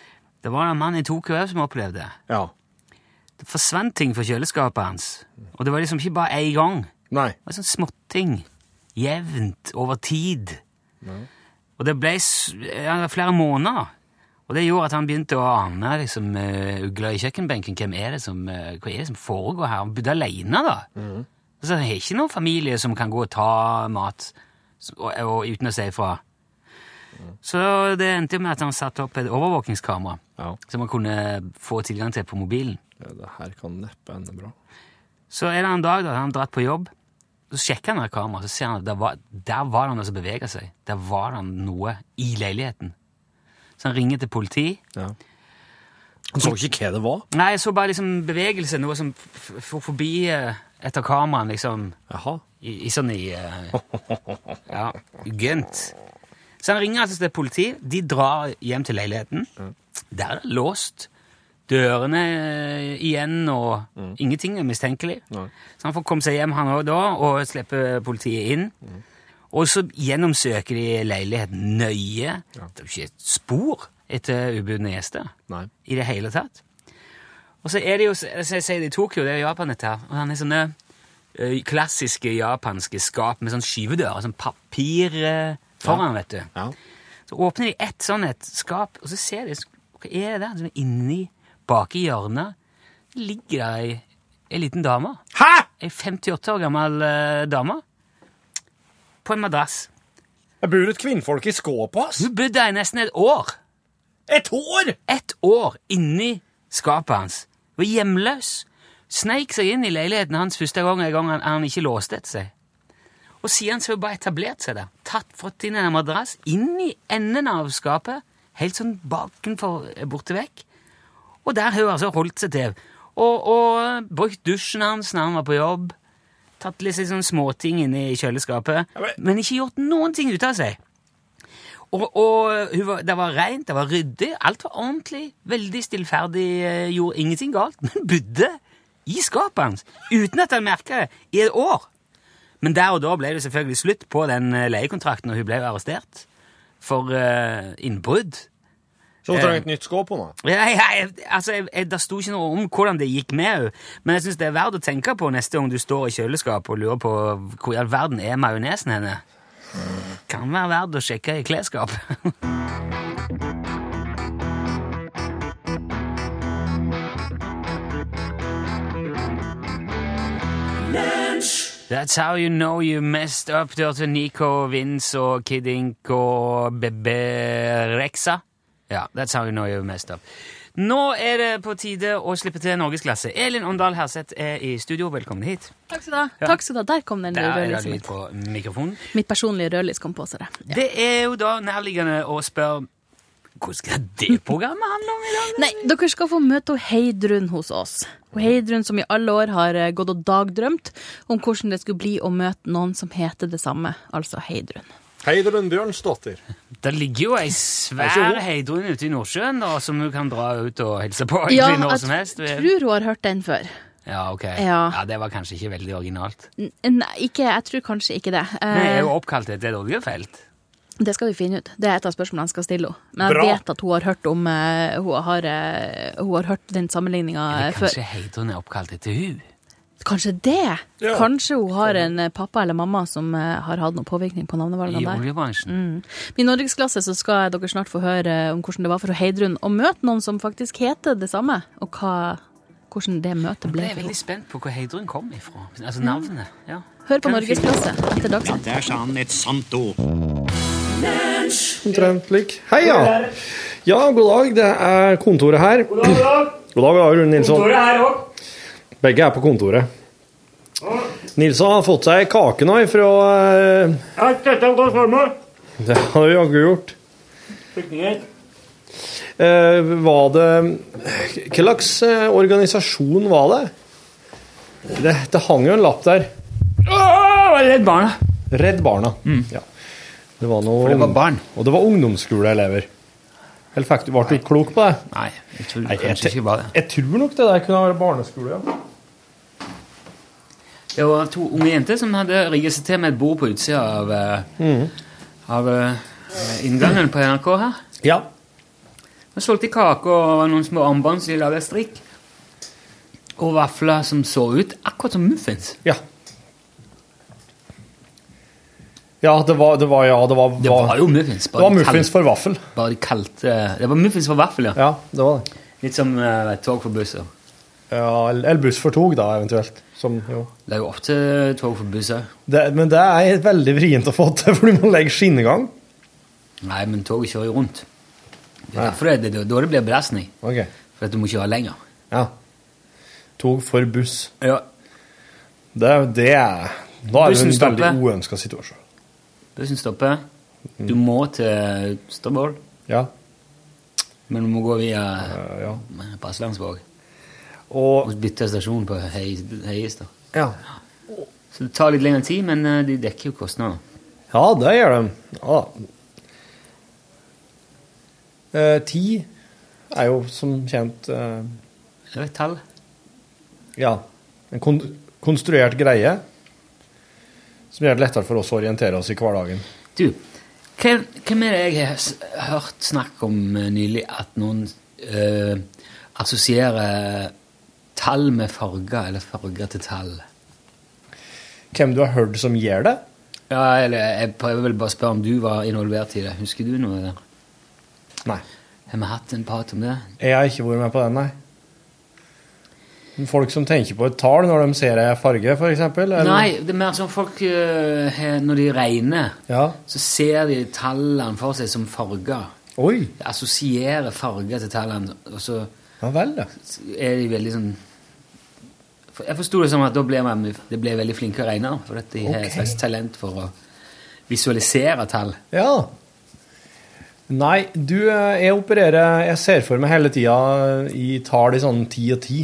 Speaker 3: Det var en mann i Tokyo også som opplevde det.
Speaker 10: ja.
Speaker 3: Det forsvant ting fra kjøleskapet hans. Og det var liksom ikke bare én gang.
Speaker 10: Nei.
Speaker 3: Det var sånn småting. Jevnt over tid. Og det ble s- ja, flere måneder. Og det gjorde at han begynte å ane liksom, eh, ugla i kjøkkenbenken. Hvem er det som, eh, hva er det som foregår her? Han bodde alene, da. Så han har ikke noen familie som kan gå og ta mat s- og, og, uten å si ifra. Så det endte med at han satte opp et overvåkingskamera
Speaker 10: Ja.
Speaker 3: som han kunne få tilgang til på mobilen.
Speaker 10: Ja, Det her kan neppe ende bra.
Speaker 3: Så er det en dag da han har dratt på jobb, så sjekker han det kameraet, så ser han at der var, der var det noe som beveget seg. Der var det noe i leiligheten. Så han ringer til politi.
Speaker 10: Han så ikke hva det var.
Speaker 3: Nei, jeg så bare liksom bevegelse, noe som f- f- for forbi eh, etter kameraen, liksom,
Speaker 10: Jaha.
Speaker 3: i, i sånn i... eh, ja, gønt. Så han ringer altså til politi, de drar hjem til leiligheten. Der er det låst. Dørene eh, igjen, og ingenting er mistenkelig. Så han får komme seg hjem, han òg, da, og slippe politiet inn. Og så gjennomsøker de leiligheten nøye. Det er jo ikke et spor etter ubudne gjester
Speaker 10: Nei.
Speaker 3: i det hele tatt. Og så er det jo, som jeg sier, det i Tokyo, det er jo Japan dette her, og han er sånne eh, klassiske japanske skap med sånn skyvedører, sånn papir eh, foran, vet du.
Speaker 10: Ja.
Speaker 3: Så åpner de ett sånn et skap, og så ser de Hva er det der? Sånn inni, bak i hjørnet, ligger det ei, ei liten dame.
Speaker 10: Hæ?!
Speaker 3: Ei 58 år gammel eh, dame. På en madrass.
Speaker 10: Jeg bor et kvinnfolk i skåpet hans!
Speaker 3: Hun bodde der i nesten et år.
Speaker 10: Et år!
Speaker 3: Ett år inni skapet hans. Hun var hjemløs. Sneik seg inn i leiligheten hans første gang, en gang han, han ikke låste etter seg. Og siden så har hun bare etablert seg der. Tatt, fått inn en madrass, inn i enden av skapet, helt sånn bakenfor, eh, borte vekk. Og der har hun altså holdt seg til. Og, og brukt dusjen hans når han var på jobb. Tatt litt sånn småting inne i kjøleskapet.
Speaker 10: men-
Speaker 3: Men ikke gjort noen ting ut av seg. Og, og hun var, det var rent, det var ryddig, alt var ordentlig. Veldig stillferdig, eh, gjorde ingenting galt. <laughs> Men bodde i skapet hans, uten at han merka det, i et år. Men der og da ble det selvfølgelig slutt på den eh, leiekontrakten, og hun ble jo arrestert for eh, innbrudd. Eh,
Speaker 2: Så hun
Speaker 5: Eh.
Speaker 2: trenger et nytt skåp, hun da.
Speaker 3: Ja, ja, jeg- altså, jeg, jeg, Det sto ikke noe om hvordan det gikk med henne, men jeg syns det er verdt å tenke på neste gang du står i kjøleskapet og lurer på hvor i all verden er majonesen henne. Kan være verdt å sjekke i klesskapet. <laughs> That's how you know you messed up, hørte Nico Vince og Kid Ink og Bebe Rexa. Ja, that's how you know you messed up. Nå er det på tide å slippe til norgesklasse. Elin Åndal Herseth er i studio, velkommen hit.
Speaker 12: Takk skal du ha. Takk skal du ha. Der kom den
Speaker 3: Der er liksom det
Speaker 12: rødlysen
Speaker 3: lyd
Speaker 12: mitt.
Speaker 3: på mikrofonen.
Speaker 12: Mitt personlige rødlys kom på, ser jeg.
Speaker 3: Det er jo da nærliggende å spørre Hvordan skal det programmet handle om i dag?
Speaker 12: Nei, dere skal få møte Heidrun hos oss. Og Heidrun som i alle år har eh, gått og dagdrømt om hvordan det skulle bli å møte noen som heter det samme, altså Heidrun.
Speaker 2: Heidrun Bjørnsdottir.
Speaker 3: <laughs> Det ligger jo ei svær heidrun ute i Nordsjøen da, som hun kan dra ut og hilse på egentlig
Speaker 12: Ja,
Speaker 3: når
Speaker 12: jeg
Speaker 3: som helst.
Speaker 12: Tror hun har hørt den før.
Speaker 3: Ja, ok.
Speaker 12: Ja.
Speaker 3: Ja, Det var kanskje ikke veldig originalt.
Speaker 12: N- Nei, ikke, jeg tror kanskje ikke det. Eh,
Speaker 3: Men jeg er jo oppkalt etter et oljefelt.
Speaker 12: Det skal vi finne ut. Det er et av spørsmålene jeg skal stille henne. Men jeg
Speaker 3: Bra.
Speaker 12: vet at hun har hørt om eh, hun, har, eh, hun har hørt den sammenligninga
Speaker 3: Eller
Speaker 12: før.
Speaker 3: kanskje heidrun er oppkalt etter hun?
Speaker 12: Kanskje det?
Speaker 3: Ja.
Speaker 12: Kanskje hun har en eh, pappa eller mamma som eh, har hatt noen påvirkning på
Speaker 3: I
Speaker 12: navnevalgene der?
Speaker 3: oljebransjen.
Speaker 12: Mm. I norgesklasse så skal dere snart få høre eh, om hvordan det var for Heidrun å møte noen som faktisk heter det samme, og hva, hvordan det møtet
Speaker 3: Jeg
Speaker 12: Mm, ble
Speaker 3: er
Speaker 12: for
Speaker 3: veldig
Speaker 12: henne.
Speaker 3: spent på hvor heidrun kom ifra. Altså
Speaker 12: Mm.
Speaker 3: navnet. Ja.
Speaker 12: Hør på norgesklasse etter Dagsnytt.
Speaker 13: Der sa han et sant ord.
Speaker 5: Omtrent lik. Hei, ja. Ja, god dag. Det er kontoret her. God dag, god dag. Rune Nilsson.
Speaker 14: Kontoret her òg.
Speaker 5: Begge er på kontoret. Nilsson har fått seg kake nå ifra eh, <laughs>
Speaker 14: Alt dette er godt formål.
Speaker 5: Det har du jaggu gjort.
Speaker 14: Flyktninger.
Speaker 5: Eh, var det Hva slags eh, organisasjon var det? det? Det hang jo en lapp der.
Speaker 14: Redd Barna. Mm.
Speaker 5: Redd Barna. Ja. Det var noe
Speaker 13: For det var barn.
Speaker 5: Og det var ungdomsskoleelever. Eller fikk du, ble du klok på det?
Speaker 13: Nei, jeg tror
Speaker 5: Nei, jeg
Speaker 13: kanskje
Speaker 5: te-
Speaker 13: ikke var det.
Speaker 5: Jeg tror nok det der kunne være barneskole, ja.
Speaker 3: Det var to unge jenter som hadde rigget seg til med et bord på utsida av, eh, av eh, inngangen på NRK her.
Speaker 5: Ja.
Speaker 3: De solgte kake og noen små armbånd som de lagde av strikk. Og vafler som så ut akkurat som muffins.
Speaker 5: Ja. Ja, det var, det var, ja, det var,
Speaker 3: Det var jo muffins.
Speaker 5: Det var muffins for vaffel.
Speaker 3: Bare de kalte Det var muffins for vaffel, ja.
Speaker 5: Ja, det var det.
Speaker 3: Litt som eh, tog for busser.
Speaker 5: Ja, eller eller buss for tog, da, eventuelt. Som, jo.
Speaker 3: Det er jo ofte tog for busser.
Speaker 5: Det, men det er veldig vrient å få til, <laughs> for du må legge skinnegang.
Speaker 3: Nei, men toget kjører jo rundt. Det er derfor det, det, det, da det blir belastning.
Speaker 5: Ok.
Speaker 3: For at du må kjøre lenger.
Speaker 5: Ja. Tog for buss.
Speaker 3: Ja.
Speaker 5: Det, det er Da er det
Speaker 3: Bussen
Speaker 5: en
Speaker 3: stopper.
Speaker 5: veldig uønska situasjon.
Speaker 3: Bussen stopper. Du må til Stabol.
Speaker 5: Ja.
Speaker 3: Men du må gå via
Speaker 5: Eh, ja.
Speaker 3: Paslandsvåg.
Speaker 5: Og
Speaker 3: bytte stasjon på Hei- Heiestad.
Speaker 5: Ja.
Speaker 3: Så det tar litt lengre tid, men eh, de dekker jo kostnader.
Speaker 5: Ja, det gjør de. Ja. Eh, ti er jo som kjent eh,
Speaker 3: Det er jo et tall.
Speaker 5: Ja. En kon konstruert greie som gjør det lettere for oss å orientere oss i hverdagen.
Speaker 3: Du, hvem, hvem er det jeg har s- hørt snakk om eh, nylig at noen eh, assosierer tall med farger, eller farger til tall?
Speaker 5: Hvem du har hørt som gjør det?
Speaker 3: Ja, eller jeg prøver vel bare å spørre om du var involvert i det. Husker du noe der?
Speaker 5: Nei.
Speaker 3: Har vi hatt en prat om det?
Speaker 5: Jeg har ikke vært med på den, nei. Men Folk som tenker på et tall når de ser ei farge, f.eks.?
Speaker 3: Nei, det er mer som folk eh, har- når de regner,
Speaker 5: Ja.
Speaker 3: så ser de tallene for seg som farger.
Speaker 5: Oi.
Speaker 3: De assosierer farger til tallene, og så
Speaker 5: Ja vel, da.
Speaker 3: er de veldig sånn for- Jeg forsto det som at da ble man de ble veldig flinke å regne, for at de har et
Speaker 5: Ok.
Speaker 3: slags talent for å visualisere tall.
Speaker 5: Ja. Nei, du, eh, jeg opererer Jeg ser for meg hele tida eh, i tall i sånn ti og ti.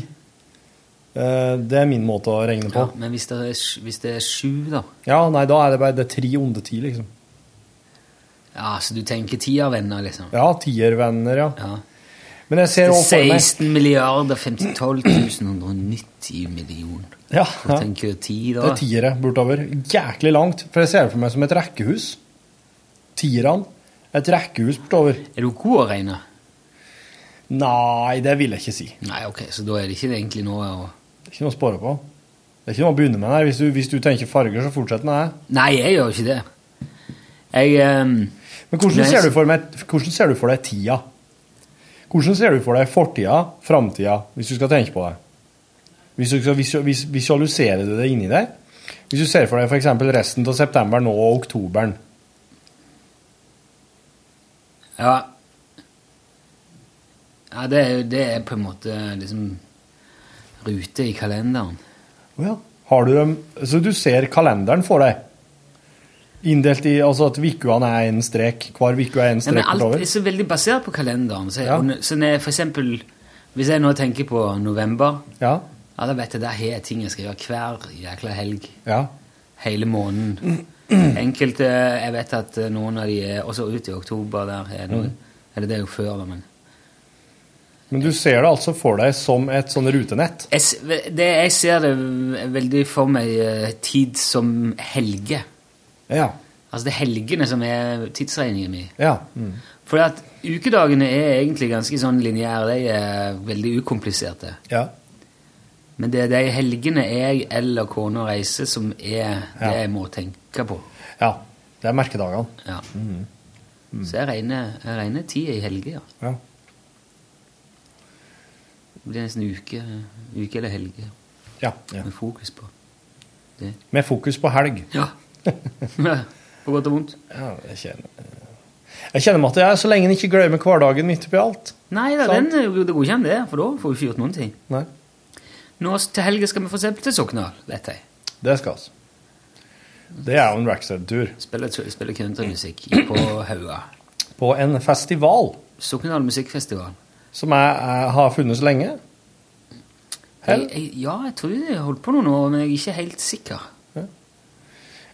Speaker 5: Eh, Det er min måte å regne på.
Speaker 3: Ja, men hvis det, er, sj- hvis det er sju, da
Speaker 5: Ja, nei, da er det bare det er tre onde ti, liksom.
Speaker 3: Ja, så du tenker tiervenner, liksom?
Speaker 5: Ja, tiervenner, ja. Men jeg ser også for meg
Speaker 3: 16 milliarder 512 190 millioner.
Speaker 5: Ja,
Speaker 3: Hva
Speaker 5: ja.
Speaker 3: tenker du ti,
Speaker 5: Det
Speaker 3: da?
Speaker 5: er tiere bortover. Jæklig langt. For jeg ser det for meg som et rekkehus. Tierne. Et rekkehus bortover.
Speaker 3: Er du god å regne?
Speaker 5: Nei, det vil jeg ikke si.
Speaker 3: Nei, ok, så da er det ikke egentlig noe å
Speaker 5: Det er ikke noe å spore på. Det er ikke noe å begynne med her. Hvis du, hvis du tenker farger, så fortsett med det.
Speaker 3: Nei, jeg gjør ikke det. Jeg
Speaker 5: Men hvordan
Speaker 3: Nei,
Speaker 5: ser, du for meg, hvordan ser du for deg tida? Hvordan ser du for deg fortida, framtida, hvis du skal tenke på det? Hvis du skal visu- vis- visualisere det deg inni deg? Hvis du ser for deg f.eks. resten av september nå og oktoberen
Speaker 3: Ja. ja det, er, det er på en måte liksom rute i kalenderen.
Speaker 5: Å ja. Har du dem Så du ser kalenderen for deg? Inndelt i Altså at ukene er en strek. Hver uke er en
Speaker 3: Ja, men
Speaker 5: strek
Speaker 3: alt
Speaker 5: bortover.
Speaker 3: er så veldig basert på kalenderen. Så, jeg, så når jeg for eksempel, hvis jeg nå tenker på november,
Speaker 5: ja.
Speaker 3: da vet jeg, der har jeg ting jeg skal gjøre hver jækla helg.
Speaker 5: Ja.
Speaker 3: Hele
Speaker 5: Mm.
Speaker 3: måneden. Enkelte, jeg vet at eh, noen av de er også ute i oktober der. Er noe,
Speaker 5: Mhm.
Speaker 3: Eller det er jo før, da, men.
Speaker 5: Men du ser det altså for deg som et sånn rutenett?
Speaker 3: Jeg, s- det, jeg ser det v- veldig for meg eh, tid som helge.
Speaker 5: Ja.
Speaker 3: Altså det er helgene som er tidsregningen min.
Speaker 5: Ja. mm.
Speaker 3: Fordi at ukedagene er egentlig ganske sånn lineære. De er veldig ukompliserte.
Speaker 5: Ja.
Speaker 3: Men det er de helgene jeg eller kona reiser, som er det
Speaker 5: Ja.
Speaker 3: jeg må tenke på.
Speaker 5: ja. Det er merkedagene. Mm.
Speaker 3: Ja. Så jeg regner, jeg regner tida i helger.
Speaker 5: Ja.
Speaker 3: Det blir nesten uke, uke eller helge
Speaker 5: Ja.
Speaker 3: med fokus på.
Speaker 5: Med fokus på helg. <laughs>
Speaker 3: Ja. på godt og vondt.
Speaker 5: Ja, jeg kjenner eh, Jeg kjenner meg at jeg, så lenge en ikke glemmer hverdagen midt oppi alt.
Speaker 3: Nei da, den,
Speaker 5: Sant.
Speaker 3: er jo- det går ikke an det, for da får du ikke gjort noen ting.
Speaker 5: Nei.
Speaker 3: Nå s- til helga skal vi for eksempel til Sokndal, vet jeg.
Speaker 5: Det skal vi. Det er jo en Rackstead-tur.
Speaker 3: Spille, spille countrymusikk på Hauga.
Speaker 5: På en festival
Speaker 3: Sokndal musikkfestival.
Speaker 5: som jeg, jeg har funnes lenge.
Speaker 3: Jeg, jeg, ja, jeg tror jeg har holdt på noen år, men jeg er ikke helt sikker.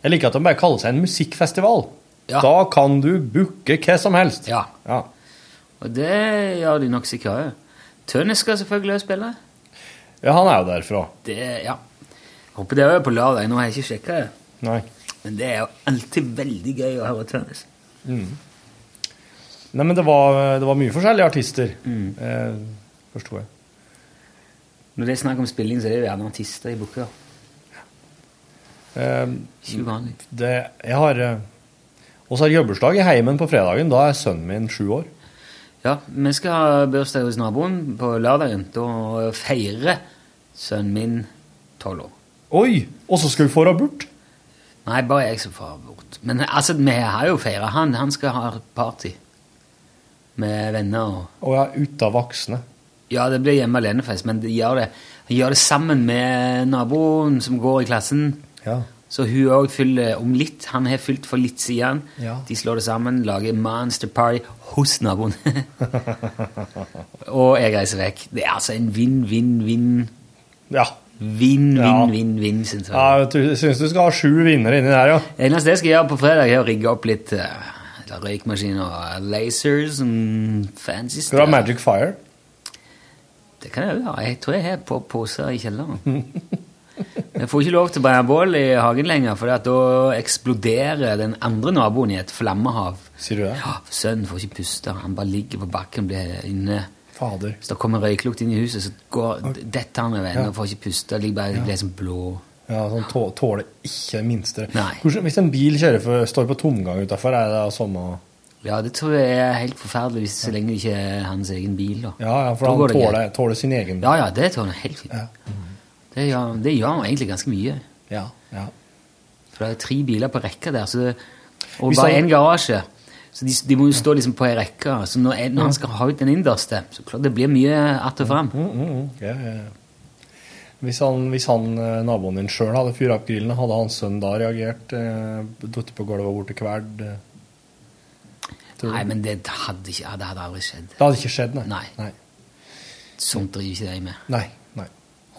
Speaker 5: Jeg liker at de bare kaller seg en musikkfestival.
Speaker 3: Ja.
Speaker 5: Da kan du booke hva som helst.
Speaker 3: Ja. Og det gjør de nok sikkert òg. Tønnes skal selvfølgelig også spille.
Speaker 5: Ja, han er jo derfra.
Speaker 3: Det, ja. Håper det òg på lørdag. Nå har jeg ikke sjekka det.
Speaker 5: Nei.
Speaker 3: Men det er jo alltid veldig gøy å høre Tønnes.
Speaker 5: Mm. Nei, men det var, det var mye forskjellige artister.
Speaker 3: Mm.
Speaker 5: Eh, forsto jeg.
Speaker 3: Når det er snakk om spilling, så er det jo gjerne artister i booker.
Speaker 5: Eh,
Speaker 3: Ikke uvanlig.
Speaker 5: det, jeg har eh, også har jobbersdag i heimen på fredagen. Da er sønnen min sju år.
Speaker 3: Ja, vi skal ha bursdag hos naboen på lørdagen. Da feirer sønnen min tolv år.
Speaker 5: Oi! Og så skal vi få abort?
Speaker 3: Nei, bare jeg som får abort. Men altså, vi har jo feira han. Han skal ha party med venner og
Speaker 5: Og jeg er ute av voksne.
Speaker 3: Ja, det blir hjemme alene-fest, men de gjør det. de gjør det sammen med naboen som går i klassen.
Speaker 5: Ja.
Speaker 3: Så hun òg fyller om litt. Han har fylt for litt siden.
Speaker 5: Ja.
Speaker 3: De slår det sammen, lager Monster Party hos naboen. <laughs> og jeg reiser vekk. Det er altså en vinn-vinn-vinn.
Speaker 5: Ja.
Speaker 3: Vinn-vinn-vinn-vinn, syns jeg.
Speaker 5: Ja, vet du, jeg syns du skal ha sju vinnere inni der, ja.
Speaker 3: Det eneste jeg skal gjøre på fredag, er å rigge opp litt eh, røykmaskin og lasers og fancy
Speaker 5: Skal du ha
Speaker 3: stuff.
Speaker 5: Magic Fire?
Speaker 3: Det kan jeg jo ha. Jeg tror jeg har på poser i kjelleren. Jeg får ikke lov til å brenne bål i hagen lenger, for da eksploderer den andre naboen i et flammehav.
Speaker 5: Sier du det?
Speaker 3: Ja, Sønnen får ikke puste. Han bare ligger på bakken blir inne.
Speaker 5: Fader.
Speaker 3: Hvis det kommer røyklukt inn i huset, så går, detter han over ende og får ikke puste. Ligger bare blir sånn blå.
Speaker 5: Ja, sånn tå, tåler ikke det minste.
Speaker 3: Nei.
Speaker 5: Hvordan, hvis en bil kjører for, står på tomgang utafor, er det da samme
Speaker 3: Ja, det tror jeg er helt forferdelig hvis, så lenge det ikke er hans egen bil. Da.
Speaker 5: Ja, ja, for
Speaker 3: Da går
Speaker 5: han
Speaker 3: det greit.
Speaker 5: tåler, tåler sin egen
Speaker 3: Ja, ja, det tåler han helt fint. Det, gjør, det gjør han egentlig ganske mye.
Speaker 5: Ja, ja.
Speaker 3: For det er tre biler på rekka der, så det, og
Speaker 5: Hvis
Speaker 3: bare
Speaker 5: han-
Speaker 3: én garasje. Så de, de må jo stå liksom på ei rekke. Så når, en- når han skal ha ut den innerste, så klart det blir mye att og fram.
Speaker 5: Mm, Ja, ja, ja. Hvis, han, hvis han, eh, naboen din sjøl hadde fyrt opp grillene, hadde hans sønn da reagert? Eh, Datt på gulvet og blitt kveld? Eh, tror du?
Speaker 3: Nei, men det hadde, ikke, ja, det hadde aldri skjedd.
Speaker 5: Det hadde ikke skjedd, nei.
Speaker 3: Nei. Sånt driver ikke de med.
Speaker 5: Nei. nei.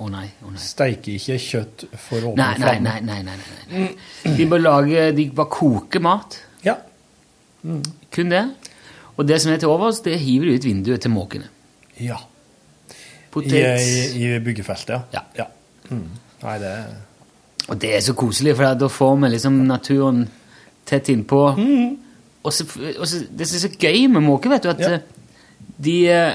Speaker 3: Å nei, å nei.
Speaker 5: Steiker ikke kjøtt for åpen
Speaker 3: Nei, nei,
Speaker 5: flamme.
Speaker 3: nei, nei, nei, nei. nei. De bare, lager, de bare koker mat.
Speaker 5: Ja.
Speaker 3: Kun det. Og det som er til overs, det hiver du ut vinduet til måkene.
Speaker 5: Ja. I,
Speaker 3: Potet.
Speaker 5: i, I byggefeltet, ja. ja. Mm. Nei, det
Speaker 3: Og det er så koselig, for da får vi liksom naturen tett innpå.
Speaker 5: Mm.
Speaker 3: Og, så, og så, det som er så gøy med måker, vet du, at eh, de eh,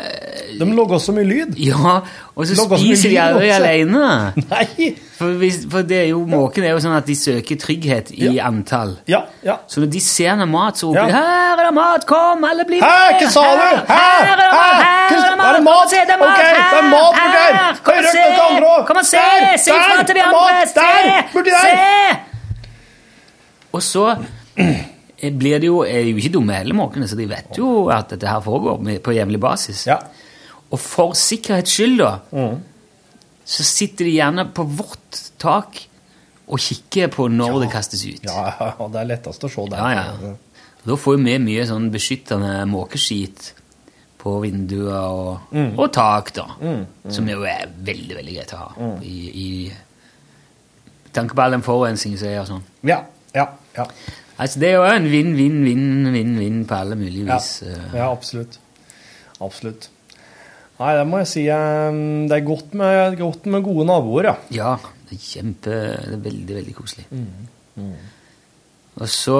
Speaker 5: De lager så mye lyd.
Speaker 3: Ja, og så
Speaker 5: Lager så mye
Speaker 3: spiser de
Speaker 5: lyd
Speaker 3: aldri
Speaker 5: også.
Speaker 3: alene.
Speaker 5: <laughs> Nei!
Speaker 3: For, hvis, for det er jo, måken er jo sånn at de søker trygghet i antall.
Speaker 5: Ja, ja.
Speaker 3: Så når de ser noe mat, så
Speaker 14: Ja.
Speaker 3: roper de 'Her er det mat! Kom, alle blir
Speaker 14: Her, hva sa du?
Speaker 3: Her,
Speaker 14: Her,
Speaker 3: her er det mat! Her er det mat! Kom og se, det er mat!
Speaker 14: Ok, det er mat,
Speaker 3: Her,
Speaker 14: Torgeir. Kom og røk
Speaker 3: her! Kom og
Speaker 14: dette andre også.
Speaker 3: se! Kom og se!
Speaker 14: Der,
Speaker 3: Si ifra
Speaker 14: der, det
Speaker 3: til de
Speaker 14: er
Speaker 3: andre!
Speaker 14: mat. Der, borti
Speaker 3: Se!
Speaker 14: der.
Speaker 3: Se! Og så eh, blir det jo, er de jo ikke dumme heller, måkene, så de vet jo at dette her foregår med- på jevnlig basis. Og for sikkerhets skyld, da,
Speaker 5: Mm.
Speaker 3: så sitter de gjerne på vårt tak og kikker på når det kastes ut.
Speaker 5: Ja, ja, det er lettest å se der.
Speaker 3: Ja, ja. Da får vi mye sånn beskyttende måkeskit på vinduer og,
Speaker 5: Mm.
Speaker 3: og tak, da. Som jo er veldig, veldig greit å ha.
Speaker 5: Mm.
Speaker 3: I, i tanke på all den forurensningen som er og sånn.
Speaker 5: Ja, ja, ja.
Speaker 3: Altså, det er jo en vinn, vinn, vinn, vinn, vinn på alle mulige
Speaker 5: Ja,
Speaker 3: vis. eh.
Speaker 5: ja absolutt. Absolutt. Nei, det må jeg si. eh, Det er godt med, godt med gode naboer, ja.
Speaker 3: Ja, det er kjempe Det er veldig, veldig koselig.
Speaker 5: Mm.
Speaker 3: Og så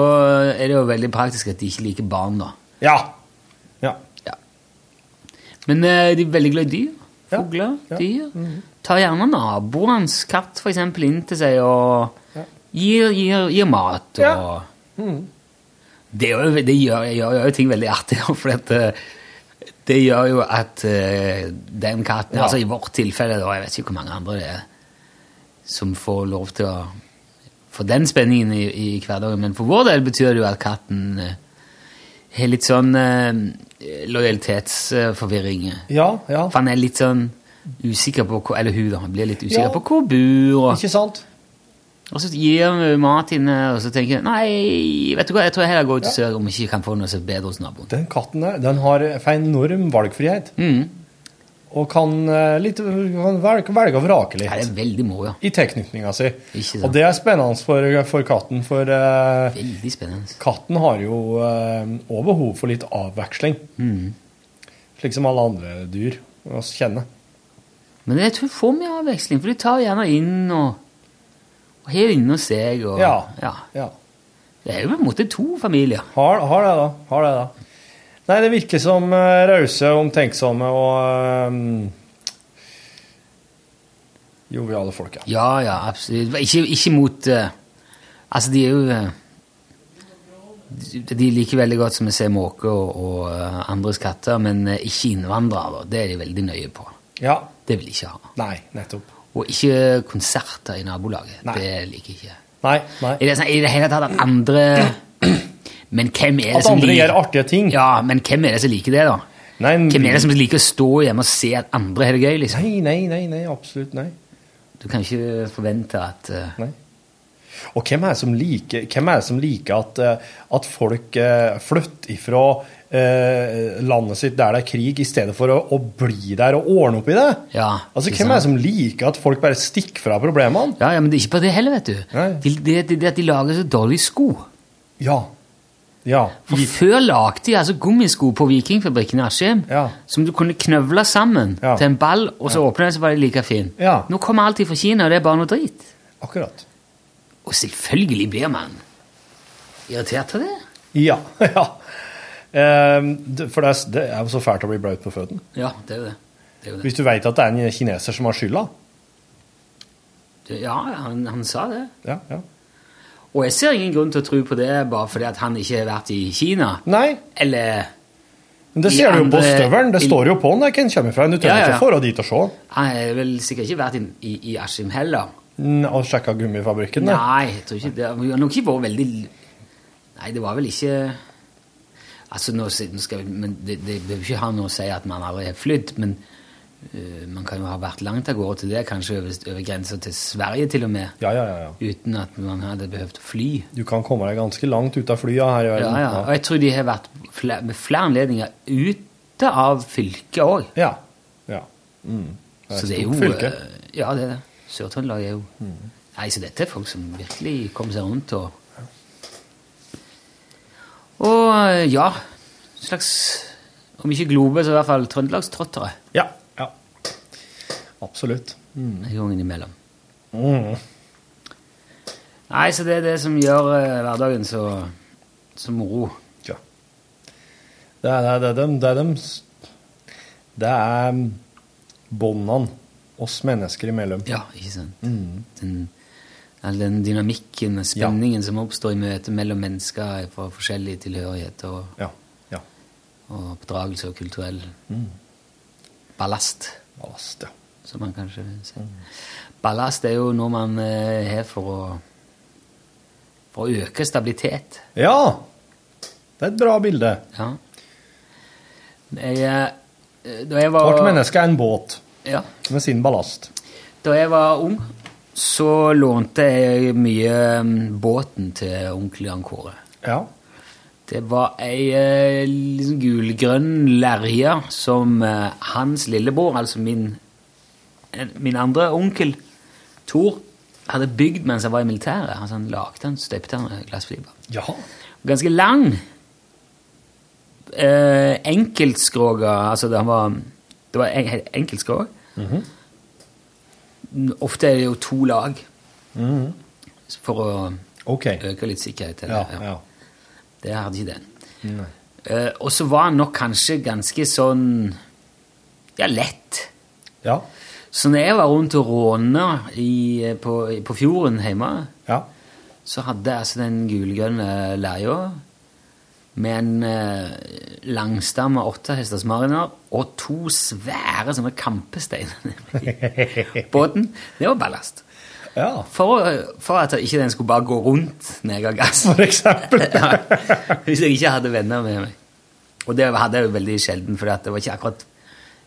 Speaker 3: er det jo veldig praktisk at de ikke liker barn, da.
Speaker 5: Ja.
Speaker 3: Men eh, de er veldig glad i dyr. Fugler,
Speaker 9: Tá.
Speaker 3: dyr. Tar gjerne naboens katt for eksempel, inn til seg og gir, gir, gir mat. Og det, er jo, det gjør, gjør, gjør jo ting veldig artig, <laughs> for at, eh, det gjør jo at eh, den katten
Speaker 14: Ja.
Speaker 3: Altså i vårt tilfelle, da, jeg vet ikke hvor mange andre det er som får lov til å få den spenningen i, i hverdagen, men for vår del betyr det jo at katten eh, har litt sånn eh, lojalitetsforvirring.
Speaker 5: Ja, ja.
Speaker 3: For han er litt sånn usikker på hvor, Eller hun, da. Han blir litt usikker
Speaker 5: Ja.
Speaker 3: på hvor bor og
Speaker 5: Ikke sant?
Speaker 3: Og så gir vi mat inne, og så tenker jeg Nei, vet du hva, jeg tror jeg heller går ut
Speaker 5: Ja.
Speaker 3: og ser om jeg ikke kan få noe som er bedre hos naboen.
Speaker 5: Den katten der, den har eh, en enorm valgfrihet.
Speaker 3: Mm.
Speaker 5: Og kan, eh, litt, kan velge, velge og vrake litt.
Speaker 3: det er veldig må, ja.
Speaker 5: I tilknytninga si.
Speaker 3: sant.
Speaker 5: Og det er spennende for, for katten, for eh,
Speaker 3: Veldig spennende.
Speaker 5: katten har jo òg behov for litt avveksling.
Speaker 3: Mm.
Speaker 5: Slik som alle andre dyr oss kjenner.
Speaker 3: Men jeg tror hun får mye avveksling, for de tar gjerne inn og, og her inne hos seg. Og,
Speaker 5: Ja.
Speaker 3: Det er jo på en måte to familier.
Speaker 5: Har, har det, da. Har det, da. Nei, det virker som eh, rause, omtenksomme og ehm, eh, joviale folk, ja.
Speaker 3: Ja, ja, absolutt. Ikke, ikke mot eh, Altså, de er jo eh, de- De liker veldig godt, som vi ser, måker og, og eh, andres katter, men eh, ikke innvandrere. da. Det er de veldig nøye på.
Speaker 5: Ja.
Speaker 3: Det vil de ikke ha.
Speaker 5: Nei, nettopp.
Speaker 3: Og ikke konserter i nabolaget.
Speaker 5: Nei.
Speaker 3: Det liker ikke.
Speaker 5: Nei, nei.
Speaker 3: Er det, sånn, I det hele tatt at andre <clears throat> Men hvem er det
Speaker 5: At
Speaker 3: som
Speaker 5: andre
Speaker 3: liker
Speaker 5: gjør artige ting.
Speaker 3: Ja, men hvem er det som liker det, da? hvem er det som liker å stå hjemme og se at andre har det gøy? liksom?
Speaker 5: Nei, nei, nei, nei, absolutt nei.
Speaker 3: Du kan ikke forvente at eh,
Speaker 5: Nei. Og hvem er det som liker, hvem er det som liker at, eh, at folk eh, flytter ifra eh, landet sitt der det er krig, i stedet for å, å bli der og ordne opp i det?
Speaker 3: Ja,
Speaker 5: Altså, Hvem er det som liker at folk bare stikker fra problemene? <laughs>
Speaker 3: Ja, ja, Men det er ikke bare det heller, vet du. Det det- det- det at de lager så dårlige sko.
Speaker 5: Ja. ja.
Speaker 3: For Før lagde de altså gummisko på Vikingfabrikken i Askim som du kunne knøvle sammen til en ball, og så åpne den, så var de like fin. Nå kommer alt fra Kina, og det er bare noe drit.
Speaker 5: Akkurat.
Speaker 3: Og selvfølgelig blir man irritert av det.
Speaker 5: Ja. ja. Ehm, det- for det er, det er jo så fælt å bli blaut på føttene.
Speaker 3: Ja, det er jo det. det, er jo det.
Speaker 5: Hvis du veit at det er en kineser som har skylda.
Speaker 3: det ja, han, han sa det.
Speaker 5: Ja, ja.
Speaker 3: Og jeg ser ingen grunn til å tro på det bare fordi at han ikke har vært i Kina.
Speaker 5: Nei.
Speaker 3: Eller
Speaker 5: Men det
Speaker 3: I
Speaker 5: ser du jo på
Speaker 3: andre-
Speaker 5: støvelen. Det
Speaker 3: i-
Speaker 5: står jo på den der hvem kommer fra. Du trenger
Speaker 3: Ja, ja, ja.
Speaker 5: ikke å dra dit og se.
Speaker 3: han har vel sikkert ikke vært i, i, i Askim heller.
Speaker 5: Mm, Og sjekke gummifabrikken. da.
Speaker 3: Nei, jeg tror ikke det. Vi har nok ikke vært veldig Nei, det var vel ikke Altså, nå, si- nå skal vi men Det det bør jo ikke ha noe å si at man aldri har flydd, men øh, man kan jo ha vært langt av gårde til det, kanskje over, over grensa til Sverige til og med,
Speaker 5: Ja, ja, ja, ja.
Speaker 3: uten at man hadde behøvd å fly.
Speaker 5: Du kan komme deg ganske langt ut av flya her
Speaker 3: Ja,
Speaker 5: i verden.
Speaker 3: ja. Og jeg tror de har vært fle- med flere anledninger ute av fylket òg.
Speaker 5: Ja. ja. Mm. Det er
Speaker 3: Så
Speaker 5: et
Speaker 3: det er jo
Speaker 5: stort fylke. Mm.
Speaker 3: eh, Ja, det er det. Sør-Trøndelag er jo Nei, så dette er folk som virkelig kommer seg rundt og Og ja, slags, om ikke globe, så i hvert fall trøndelagstrottere.
Speaker 5: Ja. ja. Absolutt.
Speaker 3: Mm. En gang innimellom. Mm. Nei, så det er det som gjør eh, hverdagen så, så moro.
Speaker 5: Ja. Det er, det er, dem, det er dem s- Det er mm, båndene oss mennesker imellom.
Speaker 3: Ja, ikke sant? Den, all den dynamikken og spenningen som oppstår i møtet mellom mennesker fra forskjellige tilhørigheter og,
Speaker 5: ja. Ja.
Speaker 3: og oppdragelse og kulturell
Speaker 5: Mm.
Speaker 3: ballast.
Speaker 5: Ballast, ja. Mm.
Speaker 3: Som man kanskje sier. Ballast er jo noe man eh, har for å, for å øke stabilitet.
Speaker 5: Ja! Det er et bra bilde.
Speaker 3: Ja. Jeg, eh, da jeg var
Speaker 5: Hvert menneske er en båt
Speaker 3: Ja.
Speaker 5: med sin ballast.
Speaker 3: Da jeg var ung, så lånte jeg mye mm, båten til onkel Jan Kåre.
Speaker 5: Ja.
Speaker 3: Det var ei eh, liksom gulgrønn lerje som eh, hans lillebror, altså min, en- min andre onkel, Tor, hadde bygd mens han var i militæret. Altså han lagde den, støpte den med glassfiber.
Speaker 5: Ja.
Speaker 3: Ganske lang. Eh, enkeltskroga, altså det han var, det var en, enkeltskrog.
Speaker 9: Uhum.
Speaker 3: Ofte er det jo to lag
Speaker 9: Uhum.
Speaker 5: Mhm.
Speaker 3: for å øke litt sikkerhet. Eller,
Speaker 5: Ja, ja.
Speaker 3: Det hadde ikke den.
Speaker 5: Nei.
Speaker 3: Eh, og så var han nok kanskje ganske sånn ja, lett.
Speaker 5: Ja.
Speaker 3: Så når jeg var rundt og råna i, eh, på, i- på fjorden hjemme, så hadde jeg altså den gulgrønne leia med en eh, langstamme åttehesters mariner og to svære sånne kampesteiner
Speaker 5: <laughs>
Speaker 3: i båten. Det var ballast. For, å- for at ikke den skulle bare gå rundt når jeg ga gass. For
Speaker 5: eksempel.
Speaker 3: <laughs> Hvis jeg ikke hadde venner med meg. Og det hadde jeg jo veldig sjelden, for det var ikke akkurat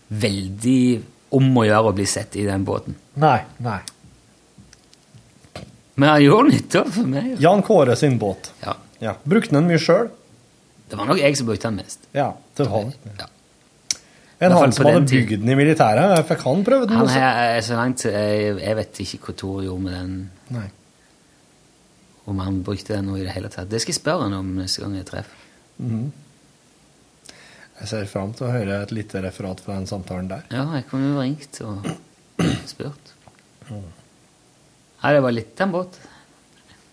Speaker 3: veldig om å gjøre å bli sett i den båten.
Speaker 5: Nei. Nei.
Speaker 3: Men han gjorde nytta for meg.
Speaker 5: Jan Kåre sin båt.
Speaker 3: Ja.
Speaker 5: Brukte den mye sjøl?
Speaker 3: Det var nok jeg som brukte den mest.
Speaker 5: Ja. Til han.
Speaker 3: Ja. I
Speaker 5: En
Speaker 3: hvert fall
Speaker 5: han
Speaker 3: på
Speaker 5: som
Speaker 3: den
Speaker 5: hadde
Speaker 3: tiden.
Speaker 5: bygd den i militæret. Jeg Fikk han prøvd den?
Speaker 3: Han
Speaker 5: også?
Speaker 3: her, er så langt, jeg, jeg vet ikke hva Tor gjorde med den,
Speaker 5: Nei.
Speaker 3: om han brukte den nå i det hele tatt. Det skal jeg spørre han om neste gang jeg treffer.
Speaker 5: Mhm. Jeg ser fram til å høre et lite referat fra den samtalen der.
Speaker 3: Ja, jeg kunne jo ringt og spurt. Nei, det var litt av en båt.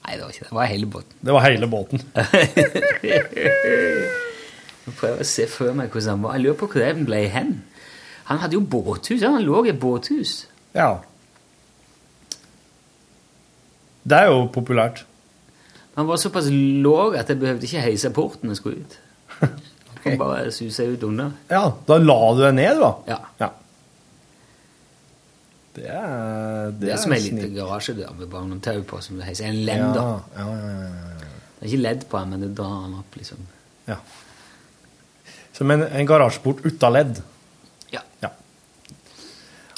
Speaker 3: Nei, det var ikke det. Det var hele båten.
Speaker 5: Det var hele
Speaker 3: <laughs>
Speaker 5: båten.
Speaker 3: Jeg prøver å se for meg hvordan han var. Jeg lurer på hvor den ble hen. Han hadde jo båthus. ja, Han lå i et båthus.
Speaker 5: Ja. Det er jo populært.
Speaker 3: Han var såpass låg at jeg behøvde ikke heise porten når jeg skulle
Speaker 5: <laughs>
Speaker 3: ut. Han kom bare suse ut under.
Speaker 5: Ja, da la du deg ned, da.
Speaker 3: Ja.
Speaker 5: Det er
Speaker 3: Det er som ei lita
Speaker 5: snilt.
Speaker 3: garasjedør med bare noen tau på som du heiser. En lem, da.
Speaker 5: Ja, ja, ja, ja, ja.
Speaker 3: Det er ikke ledd på den, men det drar den opp, liksom.
Speaker 5: Som en, en garasjeport uten ledd.
Speaker 3: Ja.
Speaker 5: ja.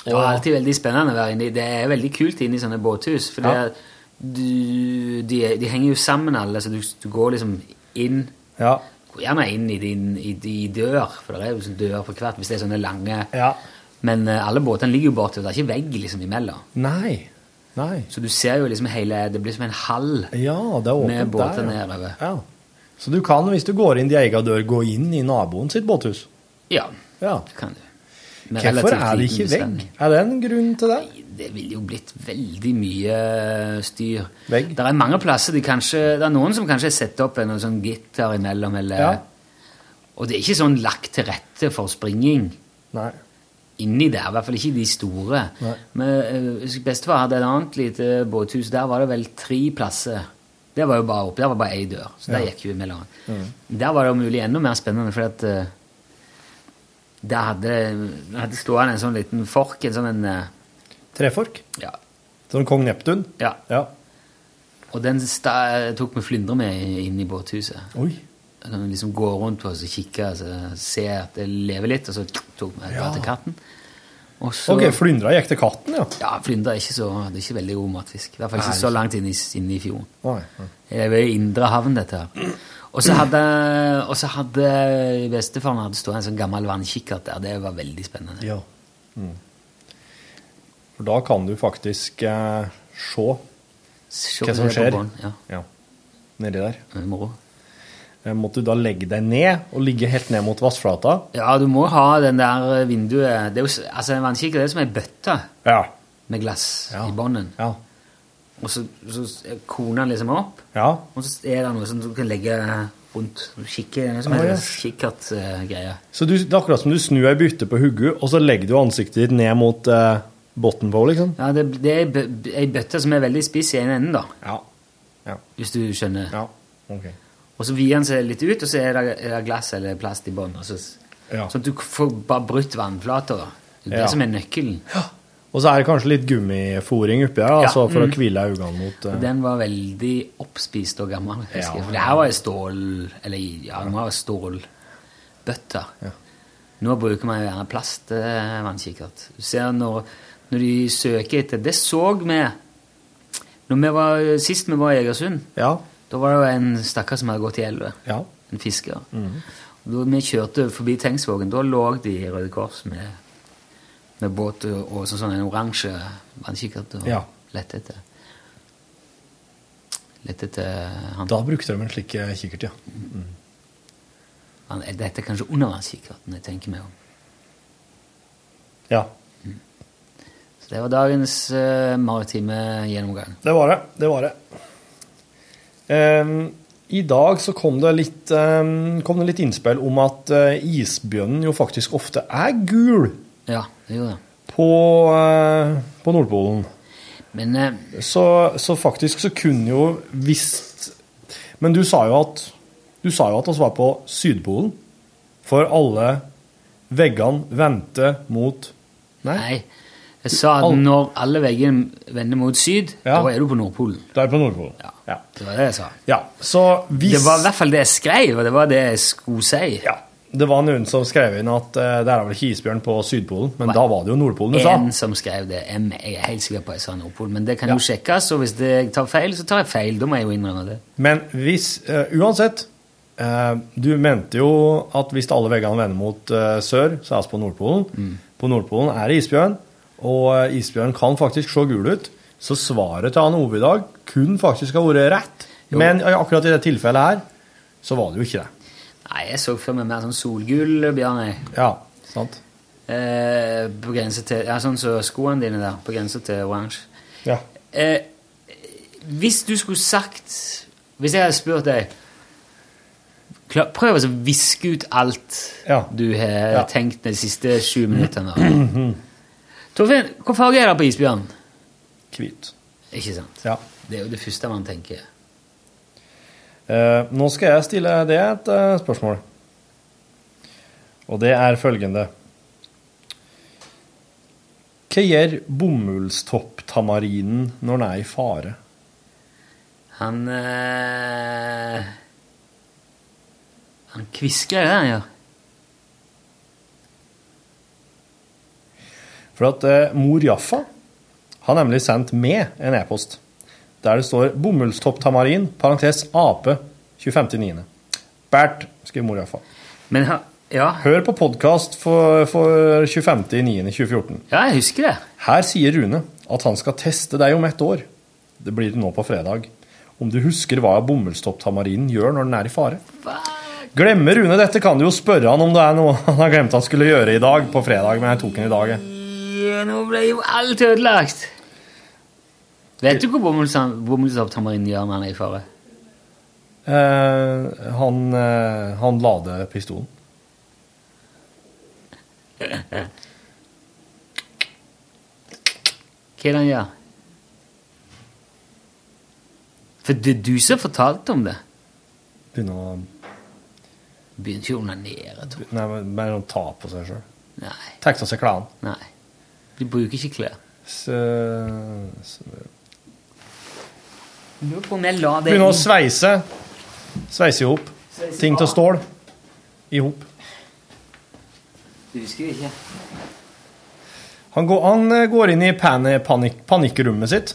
Speaker 3: Det var alltid veldig spennende å være inni. Det er veldig kult inni sånne båthus. For det
Speaker 5: Ja.
Speaker 3: er- du, de, de henger jo sammen alle, så du, du går liksom inn
Speaker 5: Ja.
Speaker 3: Gå gjerne inn i din i, i dør, for det er jo sånn dør på hvert hvis det er sånne lange Men eh, alle båtene ligger jo bortover. Det er ikke vegg liksom imellom.
Speaker 5: Nei. Nei.
Speaker 3: Så du ser jo liksom hele Det blir som en hall
Speaker 5: Ja, det er åpent
Speaker 3: med båter
Speaker 5: der. ja.
Speaker 3: nedover.
Speaker 5: Ja. Så du kan, hvis du går inn i egen dør, gå inn i naboen sitt båthus.
Speaker 3: Ja,
Speaker 5: Ja.
Speaker 3: det kan du. Med
Speaker 5: Hvorfor
Speaker 3: relativt
Speaker 5: er det
Speaker 3: liten
Speaker 5: ikke
Speaker 3: bestand.
Speaker 5: vegg? Er det en grunn til det?
Speaker 3: Det ville jo blitt veldig mye eh, styr. Det er mange plasser de kanskje Det er noen som kanskje setter opp en sånn gitter imellom, eller
Speaker 5: Ja.
Speaker 3: Og det er ikke sånn lagt til rette for springing
Speaker 5: Nei.
Speaker 3: inni der. I hvert fall ikke de store.
Speaker 5: Nei.
Speaker 3: Men eh, husker Bestefar hadde et annet lite båthus. Der var det vel tre plasser. Det var jo bare opp, der var bare ei dør, så der
Speaker 5: Ja.
Speaker 3: gikk vi imellom. Der var det om mulig enda mer spennende, fordi at eh, der hadde, der hadde stående en sånn liten fork, en sånn en eh,
Speaker 5: Trefork?
Speaker 3: Ja.
Speaker 5: Som Sånn kong Neptun?
Speaker 3: Ja.
Speaker 5: Ja.
Speaker 3: Og den sta, tok vi flyndre med inn i båthuset.
Speaker 5: Oi.
Speaker 3: Da kan vi liksom gå rundt på oss og kikke, altså, se at det lever litt, og så tok vi ja.
Speaker 5: Ja.
Speaker 3: til katten. Og så,
Speaker 5: Ok, flyndra gikk til katten, ja.
Speaker 3: ja, flyndre er ikke så, det er ikke veldig god matfisk. I hvert fall
Speaker 5: Nei,
Speaker 3: ikke så langt inn i, inn i fjorden.
Speaker 5: Nei, nei.
Speaker 3: Det var i indre havn, dette her. Og så hadde, og så hadde bestefaren hadde stått en sånn gammel vannkikkert der. Det var veldig spennende.
Speaker 5: Ja. Mm. For da kan du faktisk eh, se
Speaker 3: Se
Speaker 5: hva som
Speaker 3: det på
Speaker 5: skjer
Speaker 3: bånd, ja.
Speaker 5: Ja. nedi der.
Speaker 3: Moro.
Speaker 5: Eh, Måtte du da legge deg ned og ligge helt ned mot vassflata?
Speaker 3: Ja, du må ha den der eh, vinduet Det er jo s- altså, en vannkikker det er som ei bøtte med glass i bånden. Og så, så koner den liksom opp, og så er det noe som du kan legge rundt. Kikke, det er som
Speaker 5: Å,
Speaker 3: en
Speaker 5: ja.
Speaker 3: kikkertgreie.
Speaker 5: Så du, det er akkurat som du snur ei bytte på hodet, og så legger du ansiktet ditt ned mot eh, bunnen på, liksom?
Speaker 3: Ja, det, det er ei bø- ei bøtte som er veldig spiss i ene enden, da. Hvis du skjønner. Og så vider den seg litt ut, og så er det, er det glass eller plast i bånn. og Så,
Speaker 5: Ja.
Speaker 3: Sånn at du får bare brutt vannflata. da. Det er
Speaker 5: Ja.
Speaker 3: det som er nøkkelen.
Speaker 5: Og så er det kanskje litt gummifòring oppi her,
Speaker 3: Ja,
Speaker 5: altså for
Speaker 3: mm.
Speaker 5: å hvile øynene mot eh,
Speaker 3: Og Den var veldig oppspist og gammel. husker jeg.
Speaker 5: Ja.
Speaker 3: For det her var jo stål Eller ja, det må være stålbøtter. Nå bruker man jo gjerne plastvannkikkert. Du ser når, når de søker etter Det så vi når vi var, sist vi var i Egersund. Da var det jo en stakkar som hadde gått i elva. En fisker.
Speaker 5: Mhm.
Speaker 3: Da vi kjørte forbi Tengsvågen, da lå de i Røde Kors med, med båt og, og sånn, sånn en oransje vannkikkert og
Speaker 5: Ja.
Speaker 3: lette etter. Lette etter eh, han.
Speaker 5: Da brukte de en slik eh, kikkert, ja.
Speaker 3: han dette er kanskje undervannskikkerten jeg tenker meg om. Mm.
Speaker 5: Ja.
Speaker 3: Så det var dagens eh, maritime gjennomgang.
Speaker 5: Det var det. Det var det. Ehm, I dag så kom det litt, ehm, kom det litt innspill om at eh, isbjørnen jo faktisk ofte er gul
Speaker 3: Ja, det gjorde det.
Speaker 5: på, eh, på Nordpolen.
Speaker 3: eh,
Speaker 5: så, så faktisk så kunne jo visst Men du sa jo at du sa jo at oss var på Sydpolen. For alle veggene vendte mot Nei.
Speaker 3: Jeg sa at
Speaker 5: Al-
Speaker 3: når alle veggene vender mot syd, da er du på Nordpolen.
Speaker 5: Da er du på Nordpolen.
Speaker 3: Ja.
Speaker 5: Ja.
Speaker 3: Det var det jeg sa.
Speaker 5: Ja, så hvis...
Speaker 3: Det var i hvert fall det jeg skrev, og det var det jeg skulle si.
Speaker 5: Ja, det var noen som skrev inn at eh, det er vel ikke isbjørn på Sydpolen, men da var det jo Nordpolen du sa.
Speaker 3: En som skrev det. Jeg jeg er helt sikker på at jeg sa Nordpolen, men det kan jo sjekkes, og hvis det, jeg tar feil, så tar jeg feil. Da må jeg jo innrømme det.
Speaker 5: Men hvis, eh, uansett, eh, du mente jo at hvis alle veggene vender mot eh, sør, så er vi på Nordpolen. På Nordpolen er det isbjørn, og eh, isbjørn kan faktisk se gul ut. Så svaret til han Ove i dag kunne faktisk ha vært rett. Men akkurat i det tilfellet her, så var det jo ikke det.
Speaker 3: Nei, jeg så for meg mer sånn solgull, Bjarne.
Speaker 5: Ja, sant.
Speaker 3: Eh, på grense til Ja, sånn som skoene dine der. På grense til oransje.
Speaker 5: Ja.
Speaker 3: Eh, hvis du skulle sagt Hvis jeg hadde spurt deg kla- Prøv å viske ut alt du har
Speaker 5: Ja.
Speaker 3: tenkt de siste sju minuttene.
Speaker 5: Mm.
Speaker 3: Torfinn, hva farge er det på isbjørn?
Speaker 5: Hvit.
Speaker 3: Ikke sant?
Speaker 5: Ja.
Speaker 3: Det er jo det første man tenker.
Speaker 5: Eh, nå skal jeg stille det et eh, spørsmål. Og det er følgende. Hva gjør bomullstopptamarinen når den er i fare?
Speaker 3: Han eh, Han kvisker, er det han gjør?
Speaker 5: For at eh, mor Jaffa har nemlig sendt med en e-post der det står 'bomullstopptamarin', parentes ape, 25.9. Bernt, skriver mor Jaffa.
Speaker 3: Hør
Speaker 5: på podkast for, for 25.9.2014.
Speaker 3: Ja, jeg husker det.
Speaker 5: Her sier Rune at han skal teste deg om ett år. Det blir nå på fredag. Om du husker hva bomullstopptamarinen gjør når den er i fare? Glemmer Rune dette, kan du jo spørre han om det er noe han har glemt han skulle gjøre i dag på fredag, men jeg tok den i dag, jeg.
Speaker 3: Ja, Nå ble jo alt ødelagt. Vet du hva bomullsavtamarinen gjør når han er i fare?
Speaker 5: Eh, han, eh, han lader pistolen.
Speaker 3: Hva er det han gjør? For det er du som fortalte om det.
Speaker 5: Begynner å
Speaker 3: Begynner ikke å onanere. Tor.
Speaker 5: Nei, men bare å ta på seg sjøl.
Speaker 3: Nei.
Speaker 5: Tekster seg klærne.
Speaker 3: Nei. Du bruker ikke klær.
Speaker 5: Så, så
Speaker 3: Lurer på om jeg la det
Speaker 5: Begynner å
Speaker 3: inn.
Speaker 5: sveise. Sveise i hop.
Speaker 3: Sveise
Speaker 5: Ting
Speaker 3: av.
Speaker 5: til stål. I hop.
Speaker 3: Du husker ikke?
Speaker 5: Han går, han eh, går inn i pan, panikk, panikkrommet sitt.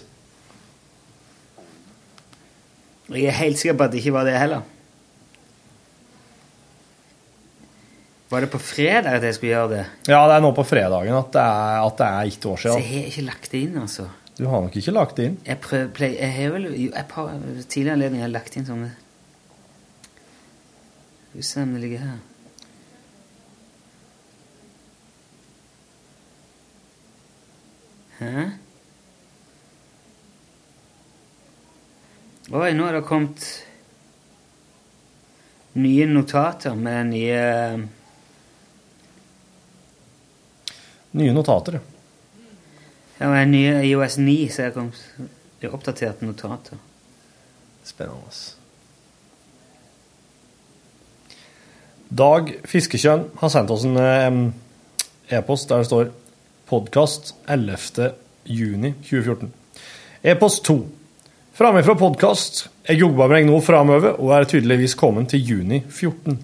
Speaker 3: Jeg er helt sikker på at det ikke var det heller. Var det på fredag at jeg skulle gjøre det?
Speaker 5: Ja, det er nå på fredagen at det er, at det er ett år
Speaker 3: Så
Speaker 5: siden.
Speaker 3: jeg har ikke lagt det inn, altså.
Speaker 5: Du har nok ikke lagt det inn.
Speaker 3: Jeg, øh, prøv, play, jeg har vel jo, et par tidligere anledninger lagt inn sånne Skal vi se om det ligger her. Hæ? Oi, nå er det kommet nye notater med den nye øh,
Speaker 5: Nye notater.
Speaker 3: Ja, med den nye IOS 9 som er kommet. Det er oppdaterte notater.
Speaker 5: Spennende. Dag Fiskekjønn har sendt oss en eh, e-post der det står 'Podkast 11. juni 2014'. E-post 2. Framme fra podkast. Jeg jobber meg nå framover og er tydeligvis kommet til juni 14.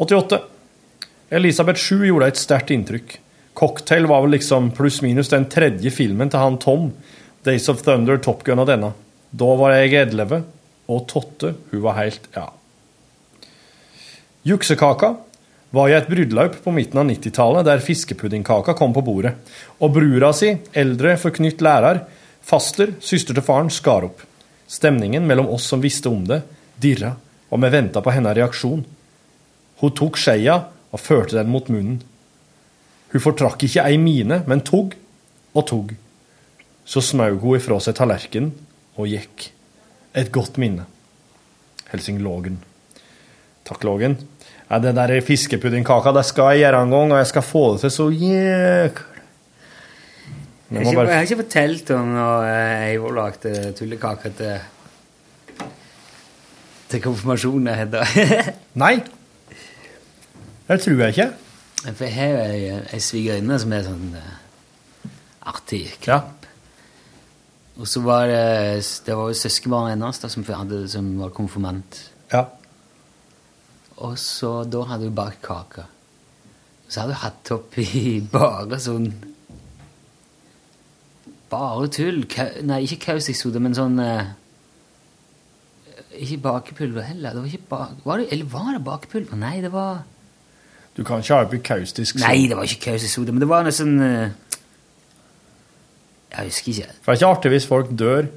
Speaker 5: 88. Elisabeth 7 gjorde et sterkt inntrykk. 'Cocktail' var vel liksom pluss-minus den tredje filmen til han Tom. 'Days of Thunder', 'Top Gun' og denne. Da var jeg 11, og Totte hun var helt ja. Juksekaka var i et bryllup på midten av 90-tallet der fiskepuddingkaka kom på bordet, og brura si, eldre forknytt lærer, faster, søster til faren, skar opp. Stemningen mellom oss som visste om det, dirra, og vi venta på hennes reaksjon. Hun tok skeia og førte den mot munnen. Hun fortrakk ikke ei mine, men tog og tog. Så smaug hun ifra seg tallerkenen og gikk. Et godt minne. Helsing Lågen. Takk, Lågen. Ja, det der fiskepuddingkaka, det skal jeg gjøre en gang, og jeg skal få det til så jækla
Speaker 3: Jeg har, ikke, jeg har ikke fortalt om når eh, Eivor lagde tullekaker til, til konfirmasjonen Hedda. <laughs>
Speaker 5: Nei. Det tror jeg ikke.
Speaker 3: For jeg har jo ei, ei svigerinne som er sånn eh, artig knapp. Og så var det Det var jo søskenbarnet hennes da, som, hadde, som var konfirmant.
Speaker 5: Ja.
Speaker 3: Og så da hadde hun bakt kake. Så hadde hun hatt oppi <laughs> bare sånn Bare tull. Ka- nei, ikke kaustikksode, men sånn eh, Ikke bakepulver heller. Det var ikke bak, var det, eller var det bakepulver? Nei, det var
Speaker 5: Du kan ikke ha oppi kaustisk sod.
Speaker 3: Nei, det var ikke kaustikksode, men det var noe sånn eh, Jeg husker ikke.
Speaker 5: For det er ikke artig hvis folk dør.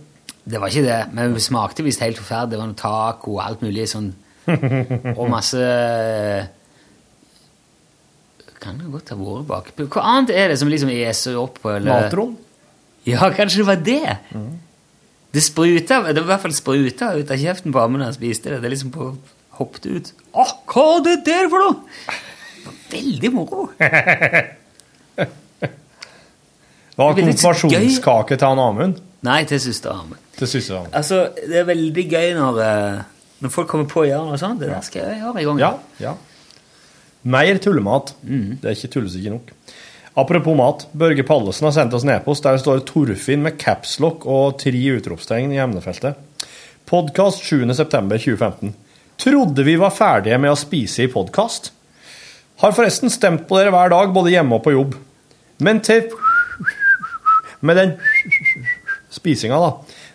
Speaker 3: Det var ikke det, men det smakte visst helt forferdelig. Det var noe taco og alt mulig sånn Og
Speaker 5: Mm.
Speaker 3: masse eh, Kan det godt ha vært bakepulver? Hva annet er det som liksom eser opp? på, Eller?
Speaker 5: Natron?
Speaker 3: Ja, kanskje det var det?
Speaker 5: Mm.
Speaker 3: Det spruta, det var i hvert fall spruta ut av kjeften på ham når han spiste det. Det liksom på, hoppet ut. Å, hva er det der for noe?! Veldig
Speaker 5: <laughs>
Speaker 3: moro!
Speaker 5: Det var
Speaker 3: Det er litt så
Speaker 5: konfirmasjonskake til han Amund.
Speaker 3: Nei, til søster Amund.
Speaker 5: Til søsteren.
Speaker 3: Altså, det er veldig gøy når, eh, når folk kommer på å gjøre noe sånt. Det der skal jeg gjøre i gang.
Speaker 5: Ja, ja. Mer tullemat. Det er ikke tullesikker nok. Apropos mat. Børge Pallesen har sendt oss en e-post der det står Torfinn med capslock og tre utropstegn i emnefeltet. Podkast 7.9.2015. Trodde vi var ferdige med å spise i podkast. Har forresten stemt på dere hver dag, både hjemme og på jobb. Men til Med den spisinga, da.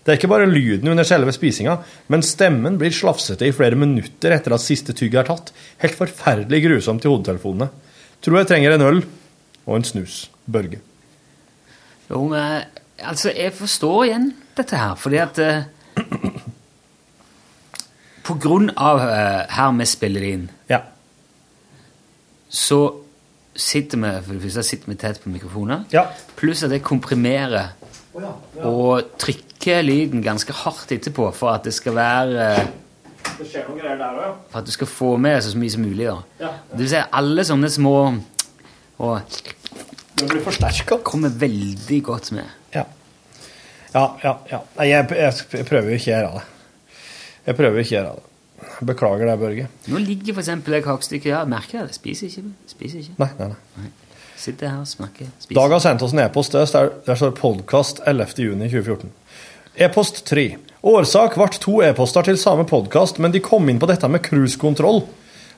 Speaker 5: Det er ikke bare lyden under selve spisinga, men stemmen blir slafsete i flere minutter etter at siste tygg er tatt. Helt forferdelig grusomt i hodetelefonene. Tror jeg trenger en øl og en snus. Børge.
Speaker 3: Jo, men altså, jeg forstår igjen dette her, fordi at eh, På grunn av eh, her vi spiller det inn, så sitter vi for det første sitter vi tett på mikrofoner, pluss at jeg komprimerer og trykker lyden ganske hardt etterpå for at det skal være eh,
Speaker 5: Det skjer noen greier der òg, ja.
Speaker 3: for at du skal få med så mye som mulig. da.
Speaker 5: Ja.
Speaker 3: Det vil si alle sånne små og
Speaker 5: Den blir forsterka.
Speaker 3: Kommer veldig godt med.
Speaker 5: Ja, ja, ja. Nei, jeg, jeg prøver jo ikke å gjøre det. Jeg prøver ikke å gjøre det. Beklager det, Børge.
Speaker 3: Nå ligger for eksempel det kakestykket her. Merker jeg det? Spiser ikke. Spiser ikke.
Speaker 5: Nei, nei, nei.
Speaker 3: Sitter her og smaker. Spiser.
Speaker 5: Dag har sendt oss en e-post der, der, der står podkast 11.6.2014. E-post 3. Årsak ble to e-poster til samme podkast, men de kom inn på dette med cruisekontroll.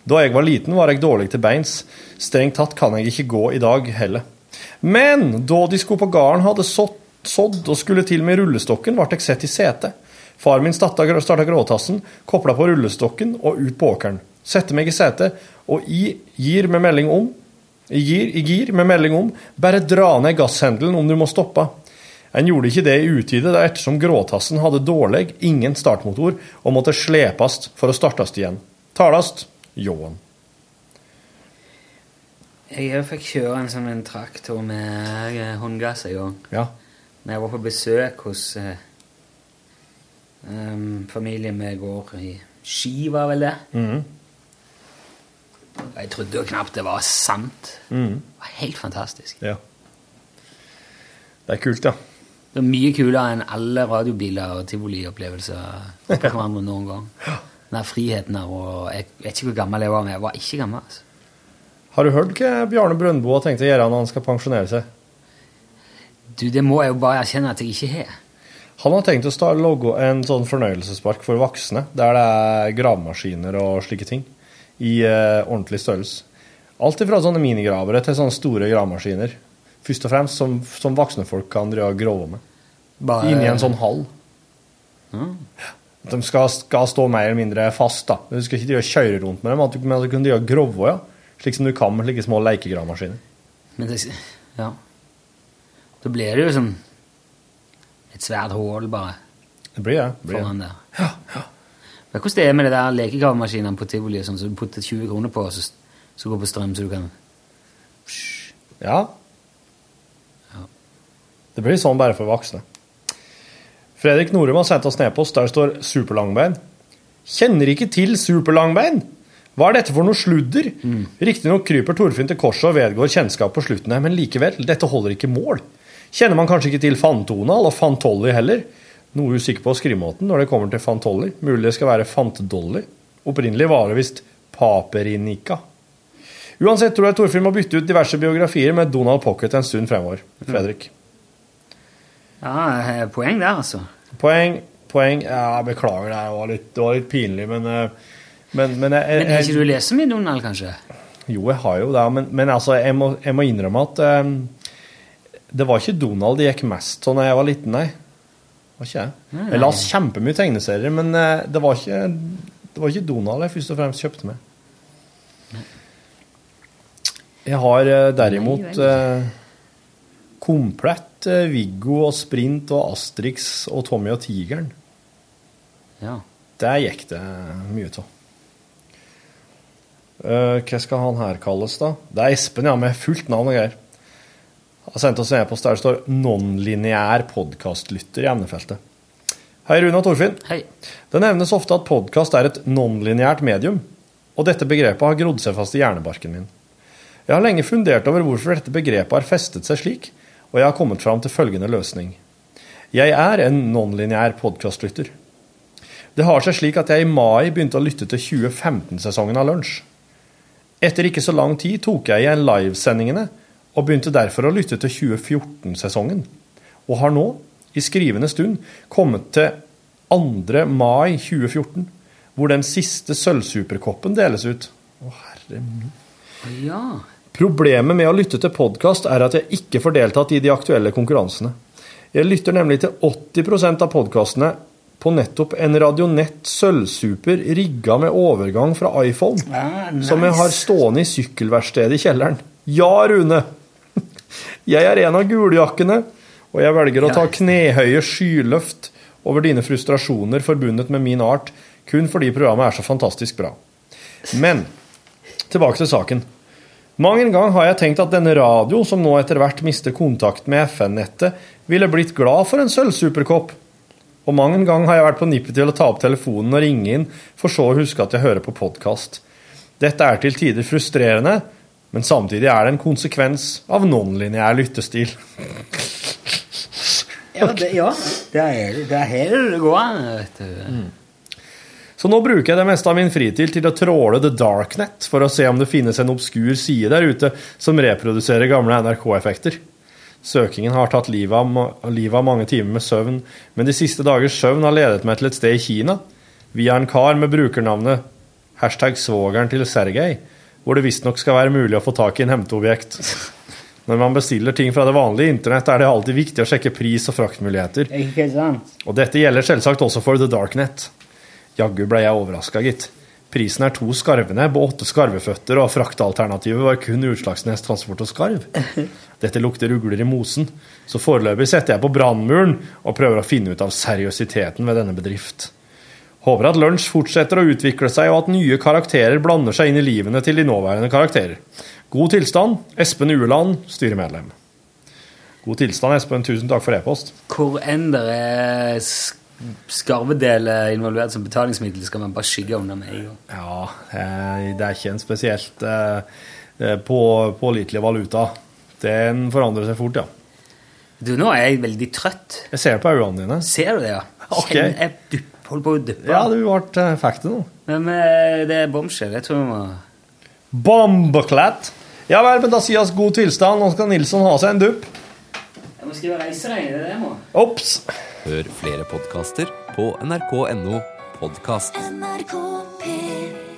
Speaker 5: Da jeg var liten, var jeg dårlig til beins. Strengt tatt kan jeg ikke gå i dag heller. Men da de skulle på gården, hadde sådd, sådd og skulle til med rullestokken, ble jeg sett i setet. Far min starta gråtassen, kobla på rullestokken og ut på åkeren. Sette meg i setet, og i gir med melding om i gir, I gir med melding om 'Bare dra ned gasshendelen om du må stoppe'. En gjorde ikke det i utide da ettersom gråtassen hadde dårlig, ingen startmotor, og måtte slepast for å startast igjen. Talast ljåen.
Speaker 15: Jeg fikk kjøre en sånn en traktor med eh, håndgass en gang.
Speaker 5: Ja.
Speaker 15: Når jeg var på besøk hos eh, em, familien vi går i Ski, var vel det.
Speaker 9: Uhum.
Speaker 5: Mhm.
Speaker 15: Jeg trodde jo knapt det var sant.
Speaker 5: Mhm.
Speaker 15: Det var helt fantastisk.
Speaker 5: Ja. Det er kult, ja.
Speaker 15: Det er mye kulere enn alle radiobiler og tivoliopplevelser på hverandre noen gang. Den der friheten her, og jeg vet ikke hvor gammel jeg var, men jeg var ikke gammel. altså.
Speaker 5: Har du hørt hva Bjarne Brøndbo har tenkt å gjøre når han skal pensjonere seg?
Speaker 15: Du, Det må jeg jo bare erkjenne at jeg ikke har.
Speaker 5: Han har tenkt å sta- logge en sånn fornøyelsespark for voksne, der det er gravemaskiner og slike ting, i eh, ordentlig størrelse. Alt ifra sånne minigravere til sånne store gravemaskiner, først og fremst, som, som voksne folk kan drive og grove med.
Speaker 15: Bare- Hm?
Speaker 5: Inni en sånn hall. At de skal, skal stå mer eller mindre fast, da. Du skal ikke drive og kjøre rundt med dem, at du, men at du kan drive og grove, ja. Slik som du kan med slike små lekegravemaskiner.
Speaker 15: Men det, ja. Da blir det jo som et svært hull, bare.
Speaker 5: Det blir det. blir
Speaker 15: foran der. Men hvordan det er med det der lekegravemaskinen på tivoli og sånn, så du putter 20 kroner på, og så, så går det på strøm, så du kan
Speaker 5: Ja. Det blir sånn bare for voksne. Fredrik Norum har sendt oss nedpost. Der står 'superlangbein'. Kjenner ikke til superlangbein! Hva er dette for noe sludder? Riktignok kryper Torfinn til korset og vedgår kjennskap på slutten her, men likevel, dette holder ikke mål. Kjenner man kanskje ikke til Fantonal og Fantolli heller? Noe usikker på skrivemåten når det kommer til Fantolli. Mulig det skal være Fantdolly. Opprinnelig var det visst Paperinika. Uansett tror jeg Torfinn må bytte ut diverse biografier med Donald Pocket en stund fremover. Fredrik.
Speaker 15: Ja, eh, poeng der, altså.
Speaker 5: Poeng, poeng Ja, beklager, det var litt, det var litt pinlig, men eh, Men, men, jeg,
Speaker 15: Men har ikke du
Speaker 5: jeg,
Speaker 15: lest så mye Donald, kanskje?
Speaker 5: Jo, jeg har jo det, men, men altså, jeg må, jeg må innrømme at eh, det var ikke Donald jeg gikk mest av da jeg var liten, nei. Det var ikke jeg.
Speaker 15: Nei, nei.
Speaker 5: Jeg las kjempemye tegneserier, men eh, det var ikke det var ikke Donald jeg først og fremst kjøpte med. Jeg har eh, derimot eh, komplett eh, Viggo og Sprint og Astrix og Tommy og Tigeren.
Speaker 15: Ja.
Speaker 5: Der gikk det mye av. Eh, hva skal han her kalles, da? Det er Espen, ja, med fullt navn og greier. Har sendt oss en e-post der det står 'nonlineær podkastlytter' i emnefeltet. Hei, Rune og Torfinn.
Speaker 15: Hei.
Speaker 5: Det nevnes ofte at podkast er et nonlineært medium, og dette begrepet har grodd seg fast i hjernebarken min. Jeg har lenge fundert over hvorfor dette begrepet har festet seg slik, og jeg har kommet fram til følgende løsning. Jeg er en nonlineær podkastlytter. Det har seg slik at jeg i mai begynte å lytte til 2015-sesongen av Lunsj. Etter ikke så lang tid tok jeg igjen livesendingene, og begynte derfor å lytte til 2014-sesongen. Og har nå, i skrivende stund, kommet til 2. mai 2014, hvor den siste sølvsuperkoppen deles ut. Å, herre min.
Speaker 15: Ja.
Speaker 5: Problemet med å lytte til podkast er at jeg ikke får deltatt i de aktuelle konkurransene. Jeg lytter nemlig til 80 av podkastene på nettopp en Radionett sølvsuper rigga med overgang fra iPhone,
Speaker 15: nice.
Speaker 5: som jeg har stående i sykkelverkstedet i kjelleren. Ja, Rune! <laughs> Jeg er en av guljakkene, og jeg velger å ta knehøye skyløft over dine frustrasjoner forbundet med min art, kun fordi programmet er så fantastisk bra. Men tilbake til saken. Mang en gang har jeg tenkt at denne radio, som nå etter hvert mister kontakt med FN-nettet, ville blitt glad for en sølvsuperkopp. Og mang en gang har jeg vært på nippet til å ta opp telefonen og ringe inn, for så å huske at jeg hører på podkast. Dette er til tider frustrerende, men samtidig er det en konsekvens av nonlineær lyttestil.
Speaker 15: Ja, det, ja. det er det er her det går an, vet du.
Speaker 5: Mm. Så nå bruker jeg det meste av min fritid til å tråle the darknet for å se om det finnes en obskur side der ute som reproduserer gamle NRK-effekter. Søkingen har tatt livet av, ma- livet av mange timer med søvn, men de siste dagers søvn har ledet meg til et sted i Kina, via en kar med brukernavnet hashtag svogeren til Sergej, hvor det visstnok skal være mulig å få tak i en hemteobjekt. Når man bestiller ting fra det vanlige internett, er det alltid viktig å sjekke pris og fraktmuligheter.
Speaker 15: Ikke sant?
Speaker 5: Og dette gjelder selvsagt også for The Darknet. Jaggu ble jeg overraska, gitt. Prisen er to skarvenebb og åtte skarveføtter, og fraktalternativet var kun Utslagsnes Transport og Skarv. Dette lukter ugler i mosen, så foreløpig setter jeg på brannmuren og prøver å finne ut av seriøsiteten ved denne bedrift. Håper at lunsj fortsetter å utvikle seg, og at nye karakterer blander seg inn i livene til de nåværende karakterer. God tilstand, Espen Ueland, styremedlem. God tilstand, Espen. Tusen takk for e-post.
Speaker 3: Hvor enn det er sk- skarvedeler involvert som betalingsmiddel, skal man bare skygge under med en gang.
Speaker 5: Ja, eh, det er ikke en spesielt eh, eh, på, pålitelig valuta. Den forandrer seg fort, ja.
Speaker 3: Du, nå er jeg veldig trøtt.
Speaker 5: Jeg ser det på øynene dine.
Speaker 3: Ser du det, ja?
Speaker 5: Ok.
Speaker 3: Kjenner jeg dupp- holder på å duppe.
Speaker 5: Ja, du ble fikk det nå.
Speaker 3: Men eh, det er bombshell. Jeg tror vi må
Speaker 5: Bombeklatt. Ja vel, men da sier oss god tilstand. Nå skal Nilsson ha seg en dupp.
Speaker 3: Jeg må skrive reiseregning. Det er det jeg må.
Speaker 5: Ops!
Speaker 16: Hør flere podkaster på nrk.no podkast.
Speaker 17: NRK P3.